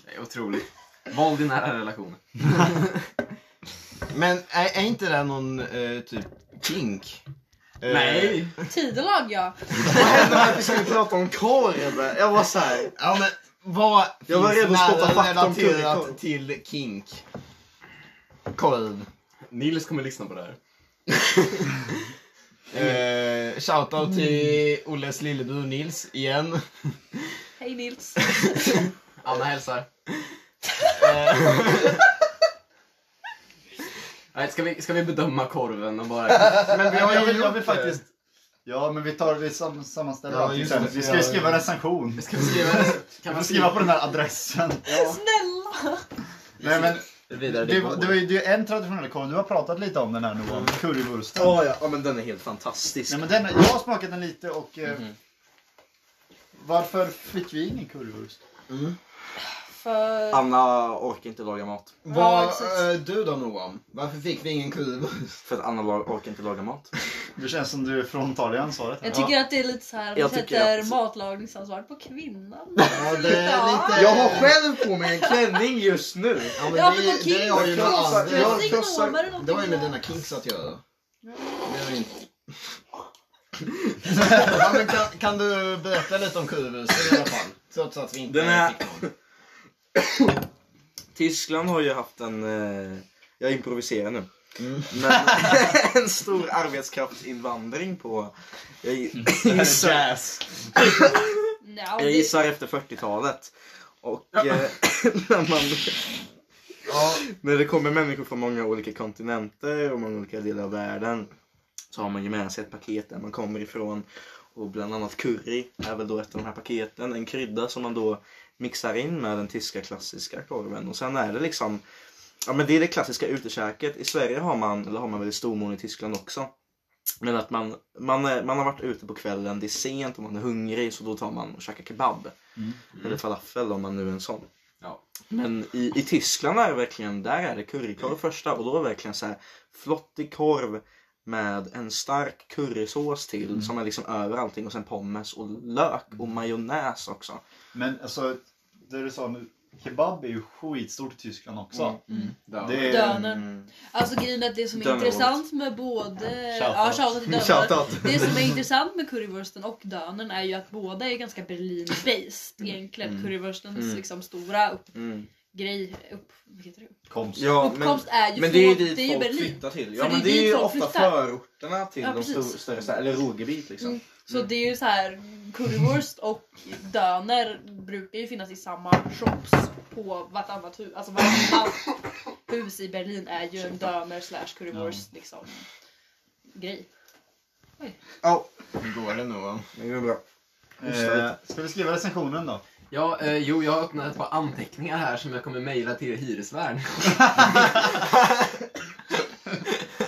S3: Det är otroligt. Våld i nära relationer.
S1: Men är, är inte det någon eh, typ kink? Eh,
S4: Tidelag, ja.
S2: Vi skulle prata om korv. Jag var såhär.
S1: Ja, men vad
S2: Jag var redo att spotta
S1: nära
S2: fakt om
S1: relaterat
S2: kurvkorv.
S1: till kink? Korv.
S6: Nils kommer lyssna på det här.
S1: Eh, shoutout till
S5: Mm.
S1: Olles lillebror Nils igen.
S4: Hej Nils.
S3: Anna hälsar.
S1: Eh,
S6: Nej, ska, vi, ska vi bedöma korven och bara...
S1: men vi har
S5: Ja, men
S1: ju
S5: jag, vill, jag
S1: gjort
S5: vill
S1: det.
S5: faktiskt... Ja, men vi tar vi sam, sammanställer
S1: Ja,
S5: allting
S1: just
S5: sen.
S1: det.
S5: Vi ska ju skriva recension. Vi
S3: Ska vi skriva Kan
S5: får
S3: man
S5: skriva på den här adressen.
S4: Snälla!
S5: Nej, men
S6: Vidare
S5: det,
S6: det
S5: var- det, var ju, det är ju en traditionell korv. Du har pratat lite om den här
S1: Mm.
S5: Noah. Currywursten.
S2: Ja, ja. ja, men den är helt fantastisk.
S5: Nej, men den, jag har smakat den lite och... eh, Varför fick vi ingen currywurst?
S4: För...
S2: Anna orkar inte laga mat.
S1: Vad,
S4: Ja, exakt.
S1: eh, du då Noam? Varför fick vi ingen kurv?
S2: För att Anna la- orkar inte laga mat.
S5: Det känns som du fråntar dig ansvaret. här.
S4: Jag tycker att det är lite så här, man
S2: Jag tycker
S4: sätter
S2: att-
S4: matlagningsansvaret på kvinnan.
S1: Ja, det är lite...
S2: Jag har själv på mig en klänning just nu.
S1: Ja, men
S4: Ja,
S1: det,
S4: men på
S1: det har ju med
S4: kinks-
S1: andra...
S4: med
S2: jag-
S4: signaler eller
S1: Det har ju med
S4: någonting.
S1: dina kinks att göra.
S4: Ja.
S1: Det har ju inte... ja, men kan, kan du berätta lite om kurvhusen i alla fall? Trots att vi inte
S2: Den är-
S1: fick någon.
S2: Tyskland har ju haft en... Eh, jag improviserar nu.
S1: Mm.
S2: Men en stor arbetskraftsinvandring på... Mm. Jag, gissar,
S5: jazz.
S4: Nja,
S2: jag
S4: det...
S2: gissar efter 40-talet. Och eh, när man...
S1: Ja,
S2: När det kommer människor från många olika kontinenter och många olika delar av världen så har man ju med sig ett paket där man kommer ifrån. Och bland annat curry är väl då ett av de här paketen. En krydda som man då mixar in med den tyska klassiska korven. Och sen är det liksom, ja men det är det klassiska utekäket. I Sverige har man, eller har man väl i Stormån i Tyskland också. Men att man, man, är, man har varit ute på kvällen, det är sent och man är hungrig så då tar man och käkar kebab. Mm. Eller falafel om man nu är en sån.
S3: Ja.
S2: Men i, i Tyskland är det verkligen, där är det currykorv första och då är det verkligen så här flottig korv med en stark currysås till som är liksom över allting och sen pommes och lök och majonnäs också.
S5: Men alltså, det du sa nu, kebab är ju skitstort i Tyskland också.
S3: Det...
S5: Det är,
S4: Dönern.
S2: Mm.
S4: Alltså grejen är att det som är
S2: Dönerbrott.
S4: intressant med både...
S5: Shoutout.
S4: Ja, shoutout till dönern.
S2: Shoutout!
S4: Det som är intressant med currywursten och dönern är ju att båda är ganska Berlin-based egentligen. Currywurstens
S2: Mm.
S4: liksom stora upp,
S2: Mm.
S4: grej, upp, vad heter det?
S5: Komst.
S2: Ja, men,
S4: uppkomst är ju
S2: men
S4: från,
S2: det är ju dit
S4: ju
S2: folk typ.
S4: Berlin.
S2: flyttar till.
S4: Så
S2: Ja
S4: det
S2: men
S4: är
S2: det är
S4: dit
S2: ju
S4: folk
S2: ofta
S4: flyttar.
S2: förorterna till
S4: Ja,
S2: de stor,
S4: precis.
S2: större städerna, eller Roggebit liksom.
S4: Mm. Så det är ju så här currywurst och döner brukar ju finnas i samma shops på vartannat hus. Alltså vartannat hus i Berlin är ju en döner slash currywurst liksom grej.
S1: Nu går det nog va?
S2: Det går bra.
S5: Eh, ska vi skriva recensionen då?
S3: Ja, eh, jo, jag har öppnat ett par anteckningar här som jag kommer mejla till hyresvärden.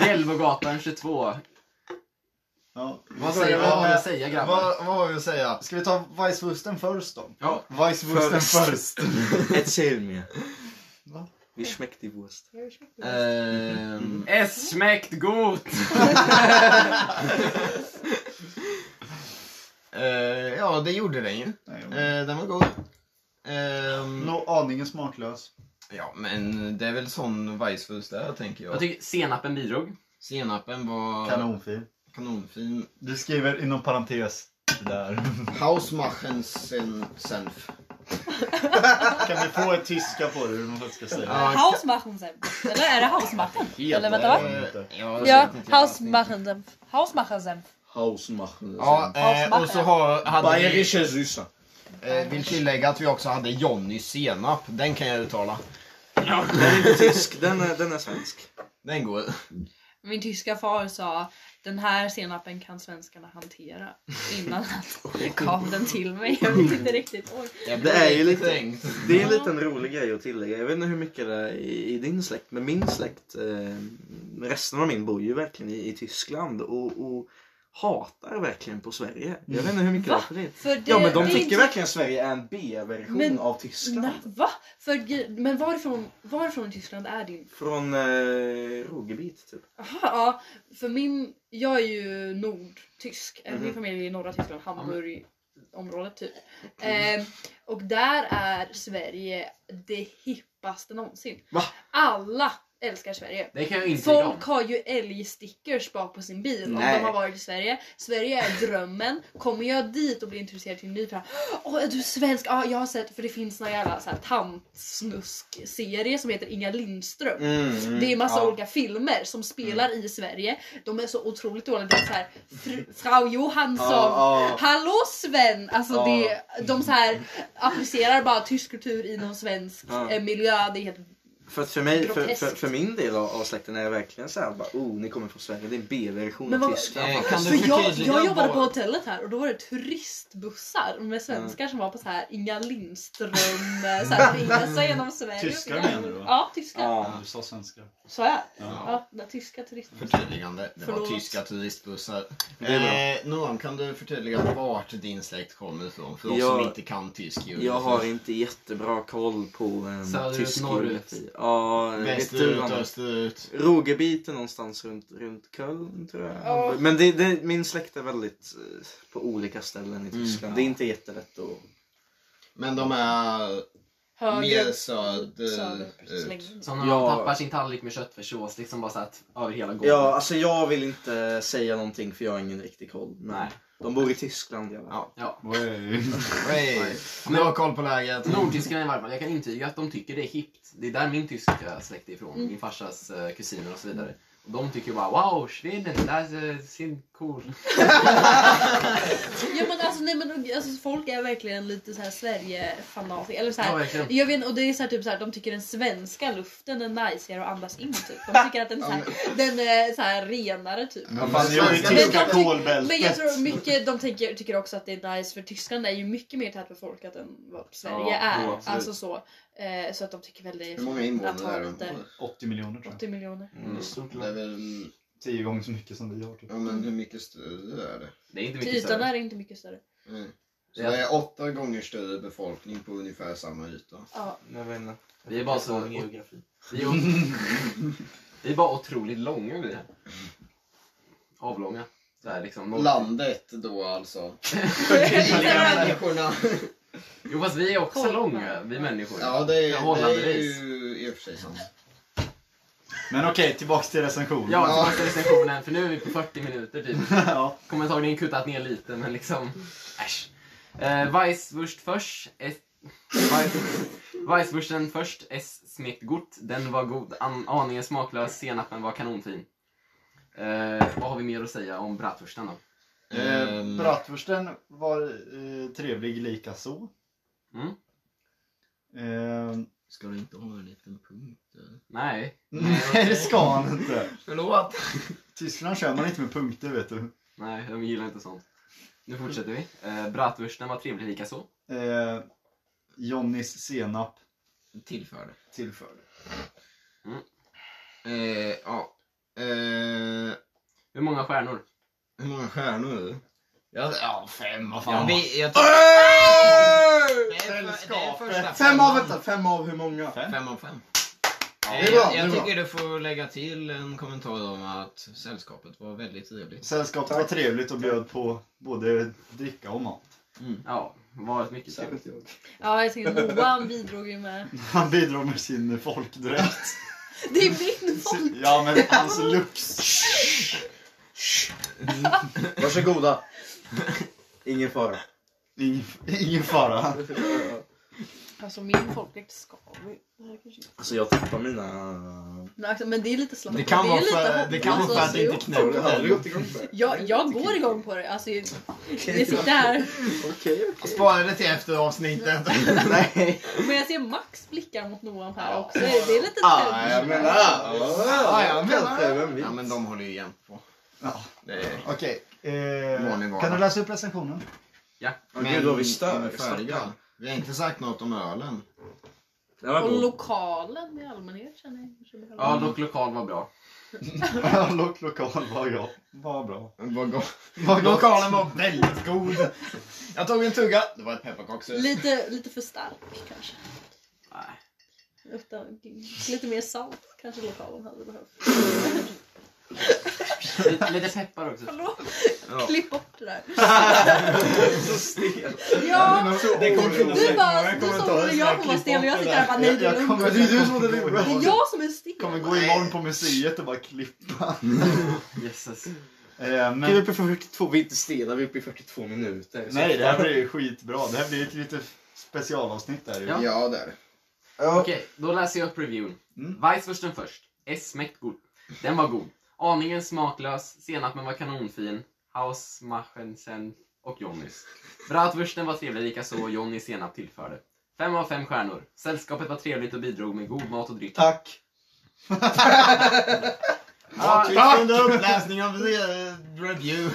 S3: Hjälvogatan 22.
S5: Ja.
S3: Vad säger- vad har vi att säga, grabbar?
S5: Vad, vad har vi att säga? Ska vi ta Weisswursten först då?
S3: Ja.
S5: Weisswursten
S2: Först.
S5: först.
S2: Ett till med.
S5: Va?
S2: Vi smäckte i Wurst. Eh,
S1: Ehm,
S3: Es schmeckt gut!
S1: eh, ja, det gjorde den ju.
S5: Nej, jag-
S1: Eh, den var god. Ehm,
S5: Nå, aningen smaklös.
S1: Ja, men det är väl sån weisswurst där tänker
S3: Jag
S1: jag.
S3: tycker senapen bidrog.
S1: Senapen var
S5: Kanonfin.
S1: kanonfin.
S5: Du skriver inom parentes där.
S1: Hausmachensenf.
S5: Kan vi få ett tyska på det hur man faktiskt ska säga?
S1: Ja,
S4: Hausmachen sen. Eller är det Hausmachen? Eller vänta va?
S1: eh, ja,
S4: Ja,
S1: jag vet inte, jag vet inte.
S4: Hausmachen sen. Hausmachen sen.
S2: Hausmachen.
S1: Ja, eh, och så har, hade vi,
S2: Bayerische Süße.
S1: eh, vill tillägga att vi också hade Jonny Senap. Den kan jag uttala.
S2: Den är inte tysk, den är, den är svensk.
S1: Den går.
S4: Min tyska far sa den här senapen kan svenskarna hantera innan han gav den till mig. Jag vet inte riktigt. Oj.
S1: Jag
S2: Det är
S1: blir
S2: ju lite-
S1: kränkt.
S2: Det är en liten rolig grej att tillägga. Jag vet inte hur mycket det är i, i din släkt, men min släkt, eh, resten av min bor ju verkligen i, i Tyskland och, och hatar verkligen på Sverige. Jag vet inte hur mycket det är för det.
S4: För det,
S2: Ja men
S4: det
S2: de
S4: är
S2: tycker
S4: inte-
S2: verkligen Sverige är en B-version
S4: Men-
S2: av Tyskland.
S4: Nej, va? För, gud, men varifrån, varifrån i Tyskland är din?
S2: Från eh, Rogebit typ.
S4: Aha, ja, för min, jag är ju nordtysk. Eh,
S2: Mhm.
S4: Min familj är i norra Tyskland, Hamburgområdet typ. Eh, och där är Sverige det hippaste någonsin.
S3: Va?
S4: Alla älskar Sverige.
S3: Det kan jag intyga om.
S4: Folk har ju älgstickers bak på sin bil
S2: Nej.
S4: om de har varit i Sverige. Sverige är drömmen. Kommer jag dit och blir intresserad till en ny person. Åh, är du svensk? Ja, jag har sett för det finns någon jävla så här tantsnusk-serie som heter Inga Lindström.
S2: Mm,
S4: Det är massa olika filmer som spelar i Sverige. De är så otroligt dåliga. Det är så här, fr- Frau Johansson. Hallå Sven! Alltså
S2: Ja.
S4: det, de så här applicerar bara tysk kultur i någon svensk
S2: Ja.
S4: eh, miljö. Det är helt
S2: För, att för, mig, för, för,
S4: Groteskt.
S2: för min del av, av släkten är jag verkligen såhär bara oh ni kommer från Sverige, det är en B-version
S4: Men
S2: av
S4: vad-
S2: Tyskland.
S1: Eh, Kan du
S4: För jag,
S1: förtydliga
S4: jag jobbade
S1: vad-
S4: på hotellet här och då var det turistbussar med svenskar som var på så här Inga Lindström, eh, så här, resa genom Sverige.
S5: Tyskar menar du, va?
S4: Ja, tyskar.
S2: Ja.
S5: Ja, Du sa svenska.
S4: Så är det.
S5: Ja.
S4: Ja, den tyska turistbussar.
S1: Förtydligande. Det var
S4: Förlåt.
S1: tyska turistbussar.
S2: är bra.
S1: Eh, Noam, kan du förtydliga vart din släkt kommer ifrån? För oss
S2: Jag-
S1: som inte kan tysk geografi.
S2: Jag har inte jättebra koll på um,
S3: Söderut,
S2: tysk
S3: norrut.
S2: geografi. Ja, vet du
S1: Västerut,
S2: vad-
S1: österut.
S2: Rogebit är någonstans runt, runt Köln tror jag.
S4: Ja.
S2: Men det, det, min släkt är väldigt eh, på olika ställen i Tyskland. Mm. Det är inte jättelätt att...
S1: Men de är mer söderut.
S4: Söderut.
S3: Som när
S2: Ja.
S3: man tappar sin tallrik med köttfärssås liksom bara så att över hela gården.
S2: Ja, alltså jag vill inte säga någonting för jag har ingen riktig koll. Men
S3: Nej.
S2: De bor i Tyskland i alla fall.
S1: Hey. Nu har koll på läget.
S3: Nordtyskarna i varje fall, jag kan
S4: Mm.
S3: intyga att de tycker det är hippt. Det är där min tyska släkt är ifrån, min farsas eh, kusiner och så vidare. Och de tycker bara wow, Sweden, that's sin cool.
S4: Ja, men alltså, nej, men, alltså, folk är verkligen lite så här Sverige-fanatik. Eller så
S3: Ja,
S4: här,
S3: verkligen.
S4: jag vet, inte, och det är så här, typ så här, de tycker den svenska luften är najsigare att andas in. Typ. De tycker att den, så här, den är så här renare typ.
S5: Ja, fast jag är ju
S1: Men-
S5: tyska
S4: men- Men jag
S5: kolbältet.
S4: tror mycket, de tänker, tycker också att det är nice för Tyskland är ju mycket mer tätbefolkat än vad Sverige
S3: Ja,
S4: är.
S3: jo, absolut.
S4: alltså så. Eh, så att de tycker väl det
S1: Hur
S4: är
S1: många invånare är
S4: antalet
S1: de?
S4: är
S5: 80 miljoner tror jag.
S4: 80 miljoner.
S2: Mm.
S1: Det är väl,
S5: 10 gånger så mycket som vi har. Typ.
S1: ja men hur mycket större är det?
S3: Det är inte
S4: Till
S3: mycket
S4: ytan
S3: större.
S4: är det inte mycket större.
S1: Mm. Så
S3: Ja.
S1: det är åtta gånger större befolkning på ungefär samma yta.
S4: Ja.
S2: Jag vet inte.
S3: Vi är bara så...
S2: geografi.
S3: Vi är, o- vi är bara otroligt långa vi är. Avlånga. Så här, liksom, noll-
S1: Landet då alltså.
S4: Italienare.
S1: Människorna.
S3: Jo fast vi är också
S4: Kolla.
S3: långa, vi människor.
S1: Ja det är, det är
S3: Förhållandevis.
S1: ju i och för sig sant.
S5: Men okej, tillbaks till recensionen.
S3: Ja, alltså, tillbaka till recensionen för nu är vi på 40 minuter typ.
S5: Ja.
S3: Kommer antagligen kuttat ner lite men liksom, äsch. Eh, Weisswurst först. es- Weiss- Weisswursten först, es schmeckt gut. Den var god, an, aningen smaklös, senapen var kanonfin. Eh, vad har vi mer att säga om bratwursten då?
S5: Eh,
S1: Ehm.
S5: Bratwursten var eh, trevlig likaså.
S3: Mm.
S5: Eh,
S1: Ska du inte ha en liten punkt eller?
S3: Nej.
S5: nej, det ska han inte.
S2: Förlåt!
S5: Tyskland kör man inte med punkter vet du.
S3: Nej, de gillar inte sånt. Nu fortsätter vi. Eh, bratwursten var trevlig likaså.
S5: Eh, Johnnys senap
S1: Tillförde.
S5: tillförde.
S1: Eh, ja. Eh,
S3: Hur många stjärnor?
S1: hur många stjärnor? Ja, ja fem, vad
S5: Ja,
S1: vi, jag
S5: Sällskapet.
S1: Fem av ett.
S2: vänta, fem av hur många?
S5: Fem.
S1: Fem av fem.
S3: Ja,
S1: Eh,
S5: det är bra,
S1: jag
S5: det
S1: jag
S5: är bra.
S1: tycker du får lägga till en kommentar om att sällskapet var väldigt trevligt.
S5: Sällskapet var trevligt och bjöd på både dricka och mat.
S3: Ja, varit mycket trevligt.
S4: ja, jag tänker Moan bidrog ju med.
S5: Han bidrog med sin folkdräkt.
S4: Det är min folk!
S5: Ja men hans lux.
S2: Varsågoda. Ingen fara.
S5: Ingen, ingen fara.
S4: Alltså min folkdräkt skaver ju. Det här kanske inte-
S2: Alltså jag tappar mina...
S4: Men alltså, Men det är lite slappt.
S1: Det kan
S4: är
S1: vara
S4: lite
S1: för, det kan vara
S4: hopplöst.
S1: för att det inte
S4: Jo.
S1: knäppt än.
S4: Jag, jag går igång på det. Alltså, jag, jag sitter här.
S2: Okej.
S1: Spara det till efter avsnittet.
S2: Nej.
S4: Men jag ser Max blickar mot Noam här också. Det är lite
S5: Ah,
S4: självförtroende.
S5: jag menar.
S1: Ja, jag
S2: Kanske, vem
S1: menar
S2: vet?
S1: Ja, men de håller ju igen på.
S5: Ja.
S1: Det är...
S5: Okej.
S1: Vanlig
S5: Eh,
S1: vara.
S5: kan du läsa upp recensionen?
S2: Åh gud vad vi stör.
S1: är vi färdiga? Vi har inte sagt något om ölen.
S2: Den var
S4: Och
S2: god.
S4: lokalen i allmänhet känner jag kanske behöver.
S3: Ja, dock lokal var bra.
S5: Lok lokal var jag. Var bra.
S1: Vad gott.
S5: Var gott.
S1: Lokalen var väldigt god. Jag tog en tugga. Det var ett pepparkakshus.
S4: Lite, lite för stark kanske.
S3: Nej.
S4: Utan, lite mer salt kanske lokalen hade behövt.
S3: Lite, lite peppar också.
S4: Förlåt,
S1: Ja.
S4: klipp bort det där.
S2: Så stel.
S4: Ja,
S5: Det kommer finnas
S4: du
S5: säkert
S4: bara,
S5: många
S4: du
S5: kommentarer
S4: som
S5: som
S4: jag kommer
S5: jag
S4: vara
S5: klipper
S4: stel och jag
S5: bort
S4: sitter
S5: det
S4: här och bara nej
S5: Jag,
S4: det är
S5: jag
S4: lugnt.
S5: kommer,
S1: Det är du som
S5: jag
S4: Det är
S5: kommer,
S4: jag som är stel.
S5: gå imorgon på museet och bara klippa.
S3: Jösses.
S5: Eh, men,
S2: Vi är uppe i 42, vi är inte stela, vi är uppe i 42 minuter. Så-
S5: nej, det här blir ju skitbra. Det här blir ett lite specialavsnitt där ju.
S3: Ja.
S1: Ja, där.
S2: Ja.
S3: Okej, då läser jag upp reviewn.
S5: Mm.
S3: Weisswursten först. S-mäkt god. Den var god. Aningen smaklös, senapen var kanonfin. Hausmachensen och Johnnys. Bratwursten var trevlig likaså och Johnny senap tillförde. Fem av fem stjärnor. Sällskapet var trevligt och bidrog med god mat och dryck.
S5: Tack!
S3: Ja,
S5: tack!
S1: Under uppläsning av eh, review.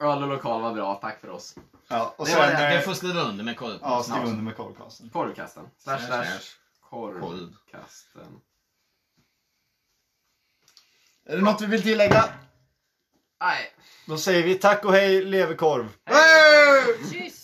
S3: Öl och lokal var bra, tack för oss.
S5: Ja, och
S1: Det,
S5: sen...
S1: var det.
S5: eh,
S1: det får skriva under med korv.
S5: Ja, skriv under med korvkasten.
S3: Korvkasten. Slash
S1: Slash,
S3: slash
S1: slash. Korv.
S3: korvkasten.
S5: Är det något vi vill tillägga?
S3: Nej.
S5: Då säger vi tack och hej, leverkorv!
S3: Hej!
S4: Kyss.